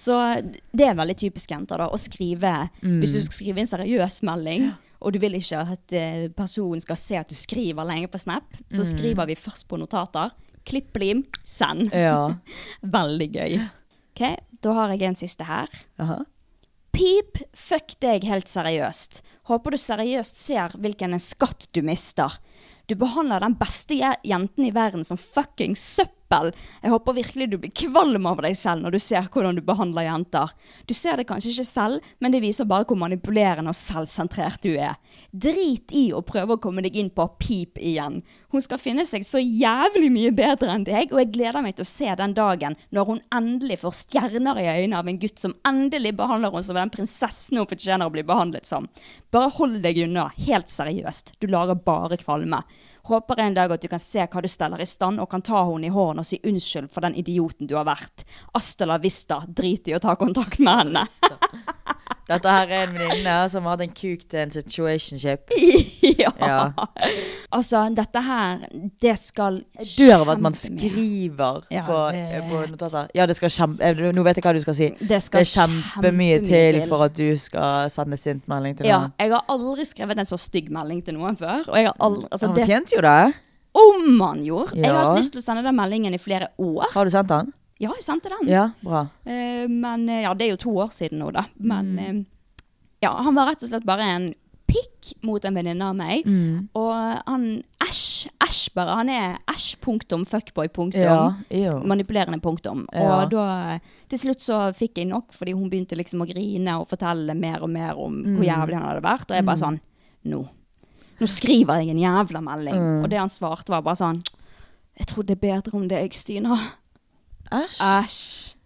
Speaker 2: Så det er veldig typisk jenter, da, å skrive Hvis
Speaker 3: Mm.
Speaker 2: du skal skrive en seriøs melding, og du vil ikke at eh, personen skal se at du skriver lenge på Snap, så
Speaker 3: Mm.
Speaker 2: skriver vi først på notater. Klipp, lim, send.
Speaker 3: ja.
Speaker 2: Veldig gøy. OK, da har jeg en siste her.
Speaker 3: Aha.
Speaker 2: Pip, fuck deg helt seriøst. Håper du seriøst ser hvilken en skatt du mister. Du behandler den beste je- jenten i verden som fucking søppel. Jeg håper virkelig du blir kvalm av deg selv når du ser hvordan du behandler jenter. Du ser det kanskje ikke selv, men det viser bare hvor manipulerende og selvsentrert du er. Drit i å prøve å komme deg inn på pip igjen. Hun skal finne seg så jævlig mye bedre enn deg, og jeg gleder meg til å se den dagen når hun endelig får stjerner i øynene av en gutt som endelig behandler henne som den prinsessen hun fortjener å bli behandlet som. Bare hold deg unna, helt seriøst. Du lager bare kvalme. Håper en dag at du kan se hva du steller i stand, og kan ta henne i hånden og si unnskyld for den idioten du har vært. Asta la vista, drit i å ta kontakt med henne.
Speaker 3: Dette her er en venninne som hadde en kuk til en situationship.
Speaker 2: ja.
Speaker 3: Ja.
Speaker 2: Altså, dette her, det skal
Speaker 3: Jeg dør av at man
Speaker 2: kjempemye.
Speaker 3: skriver
Speaker 2: Ja,
Speaker 3: på,
Speaker 2: jeg
Speaker 3: på
Speaker 2: vet.
Speaker 3: notater. Ja, det skal kjempe... eh, Nå vet jeg hva du skal si.
Speaker 2: Det skal
Speaker 3: det er kjempemye
Speaker 2: kjempemye
Speaker 3: til
Speaker 2: til.
Speaker 3: for at du skal sende sint melding til
Speaker 2: Ja,
Speaker 3: noen.
Speaker 2: jeg har aldri skrevet en så stygg melding til noen før. Og jeg har aldri, altså
Speaker 3: Han
Speaker 2: det
Speaker 3: fortjente jo det.
Speaker 2: om han gjorde! Jeg har
Speaker 3: Ja.
Speaker 2: hatt lyst til å sende den meldingen i flere år.
Speaker 3: Har du sendt han?
Speaker 2: Ja, jeg sendte den.
Speaker 3: Ja, bra.
Speaker 2: Eh, men eh, ja, det er jo to år siden nå, da. Men
Speaker 3: Mm.
Speaker 2: eh, ja, han var rett og slett bare en pikk mot en venninne av meg.
Speaker 3: Mm.
Speaker 2: Og han æsj, æsj bare. Han er æsj punktum fuckboy punktum.
Speaker 3: Ja, jo.
Speaker 2: manipulerende punktum.
Speaker 3: Ja.
Speaker 2: Og da, til slutt så fikk jeg nok, fordi hun begynte liksom å grine og fortelle mer og mer om
Speaker 3: Mm.
Speaker 2: hvor jævlig han hadde vært. Og jeg bare sånn, nå. Nå skriver jeg en jævla melding.
Speaker 3: Mm.
Speaker 2: Og det han svarte var bare sånn, jeg tror det er bedre om deg, Stina.
Speaker 3: Æsj.
Speaker 2: Æsj,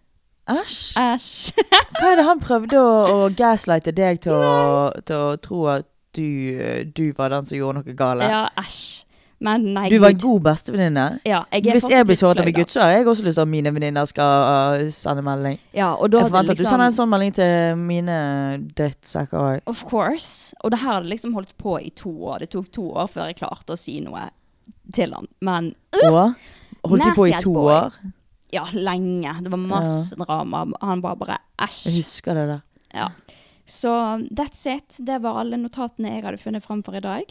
Speaker 3: Æsj.
Speaker 2: æsj.
Speaker 3: Hva er det han prøvde å, å gaslighte deg til å, til å tro at du, du var den som gjorde noe galt?
Speaker 2: ja, æsj. Men nei,
Speaker 3: Du var en
Speaker 2: Gud.
Speaker 3: god bestevenninne.
Speaker 2: Ja, jeg er
Speaker 3: Hvis
Speaker 2: fortsatt
Speaker 3: jeg blir
Speaker 2: litt
Speaker 3: såret av
Speaker 2: flau,
Speaker 3: en gutt, så har jeg også lyst til at mine venninner skal uh, sende melding.
Speaker 2: Ja, og da
Speaker 3: jeg
Speaker 2: hadde liksom,
Speaker 3: forventer at du sender en sånn melding til mine drittsekker òg.
Speaker 2: Of course. Og det her hadde liksom holdt på i to år. Det tok to år før jeg klarte å si noe til han. Men
Speaker 3: Og holdt de på i
Speaker 2: Nasty ass
Speaker 3: to
Speaker 2: boy.
Speaker 3: år?
Speaker 2: ja, lenge. Det var masse drama. Han var bare
Speaker 3: Jeg
Speaker 2: æsj.
Speaker 3: husker det der.
Speaker 2: Ja. Så that's it. Det var alle notatene jeg hadde funnet fram for i dag.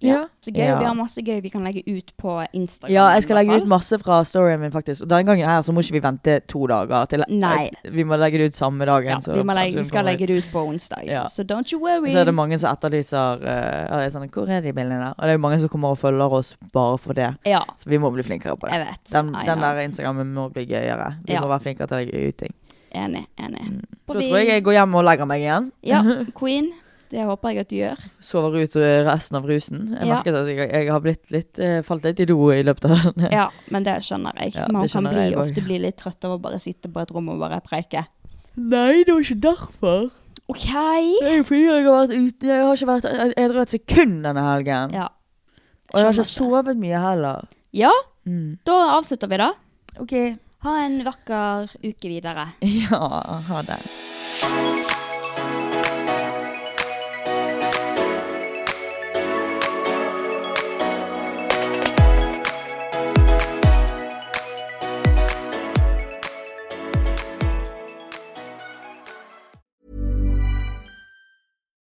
Speaker 3: Ja.
Speaker 2: Så gøy.
Speaker 3: Ja.
Speaker 2: Vi har masse gøy vi kan legge ut på Instagram.
Speaker 3: Ja, jeg
Speaker 2: i
Speaker 3: skal
Speaker 2: hvert
Speaker 3: legge ut
Speaker 2: fall.
Speaker 3: masse fra storyen min, faktisk. Og denne gangen her så må ikke vi vente to dager. Til,
Speaker 2: Nei.
Speaker 3: Vi må legge det ut samme dagen.
Speaker 2: ja,
Speaker 3: så-
Speaker 2: vi, må legge,
Speaker 3: så
Speaker 2: vi skal
Speaker 3: kommer
Speaker 2: legge det ut på onsdag.
Speaker 3: Ja.
Speaker 2: Så don't you worry.
Speaker 3: Så er det mange som etterlyser eh, og er sånn, Hvor er de bildene? Og det er jo mange som kommer og følger oss bare for det.
Speaker 2: Ja,
Speaker 3: Så vi må bli flinkere på det.
Speaker 2: jeg vet.
Speaker 3: Den,
Speaker 2: I
Speaker 3: den
Speaker 2: know.
Speaker 3: der Instagrammen må bli gøyere. Vi
Speaker 2: Ja.
Speaker 3: må være flinkere til å legge ut ting.
Speaker 2: Enig. enig.
Speaker 3: Mm. Da tror jeg jeg går hjem og legger meg igjen.
Speaker 2: Ja, queen. Det håper jeg at du gjør.
Speaker 3: Sover ut eh, resten av rusen. Jeg
Speaker 2: Ja.
Speaker 3: merket at jeg, jeg har blitt litt, eh, falt litt i do i løpet av den.
Speaker 2: Ja, men det skjønner jeg.
Speaker 3: Ja,
Speaker 2: Man
Speaker 3: det
Speaker 2: kan
Speaker 3: skjønner
Speaker 2: bli,
Speaker 3: jeg også.
Speaker 2: ofte bli litt trøtt av å bare sitte på et rom og bare preike.
Speaker 3: Nei, det var ikke derfor.
Speaker 2: OK!
Speaker 3: Det er jo fordi jeg har vært ute Jeg har ikke vært edru et sekund denne helgen.
Speaker 2: Ja.
Speaker 3: og jeg har ikke
Speaker 2: skjønner
Speaker 3: sovet mye heller.
Speaker 2: Ja,
Speaker 3: Mm.
Speaker 2: da avslutter vi, da.
Speaker 3: OK.
Speaker 2: Ha en vakker uke videre.
Speaker 3: Ja, ha det.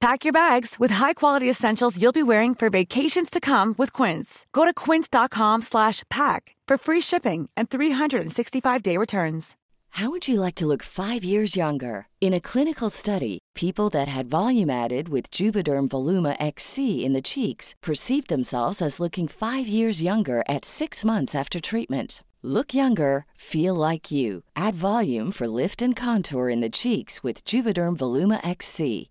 Speaker 6: Pack your bags with high-quality essentials you'll be wearing for vacations to come with Quince. Go to quince.com slash pack for free shipping and 365-day returns.
Speaker 7: How would you like to look five years younger? In a clinical study, people that had volume added with Juvederm Voluma XC in the cheeks perceived themselves as looking five years younger at six months after treatment. Look younger, feel like you. Add volume for lift and contour in the cheeks with Juvederm Voluma XC.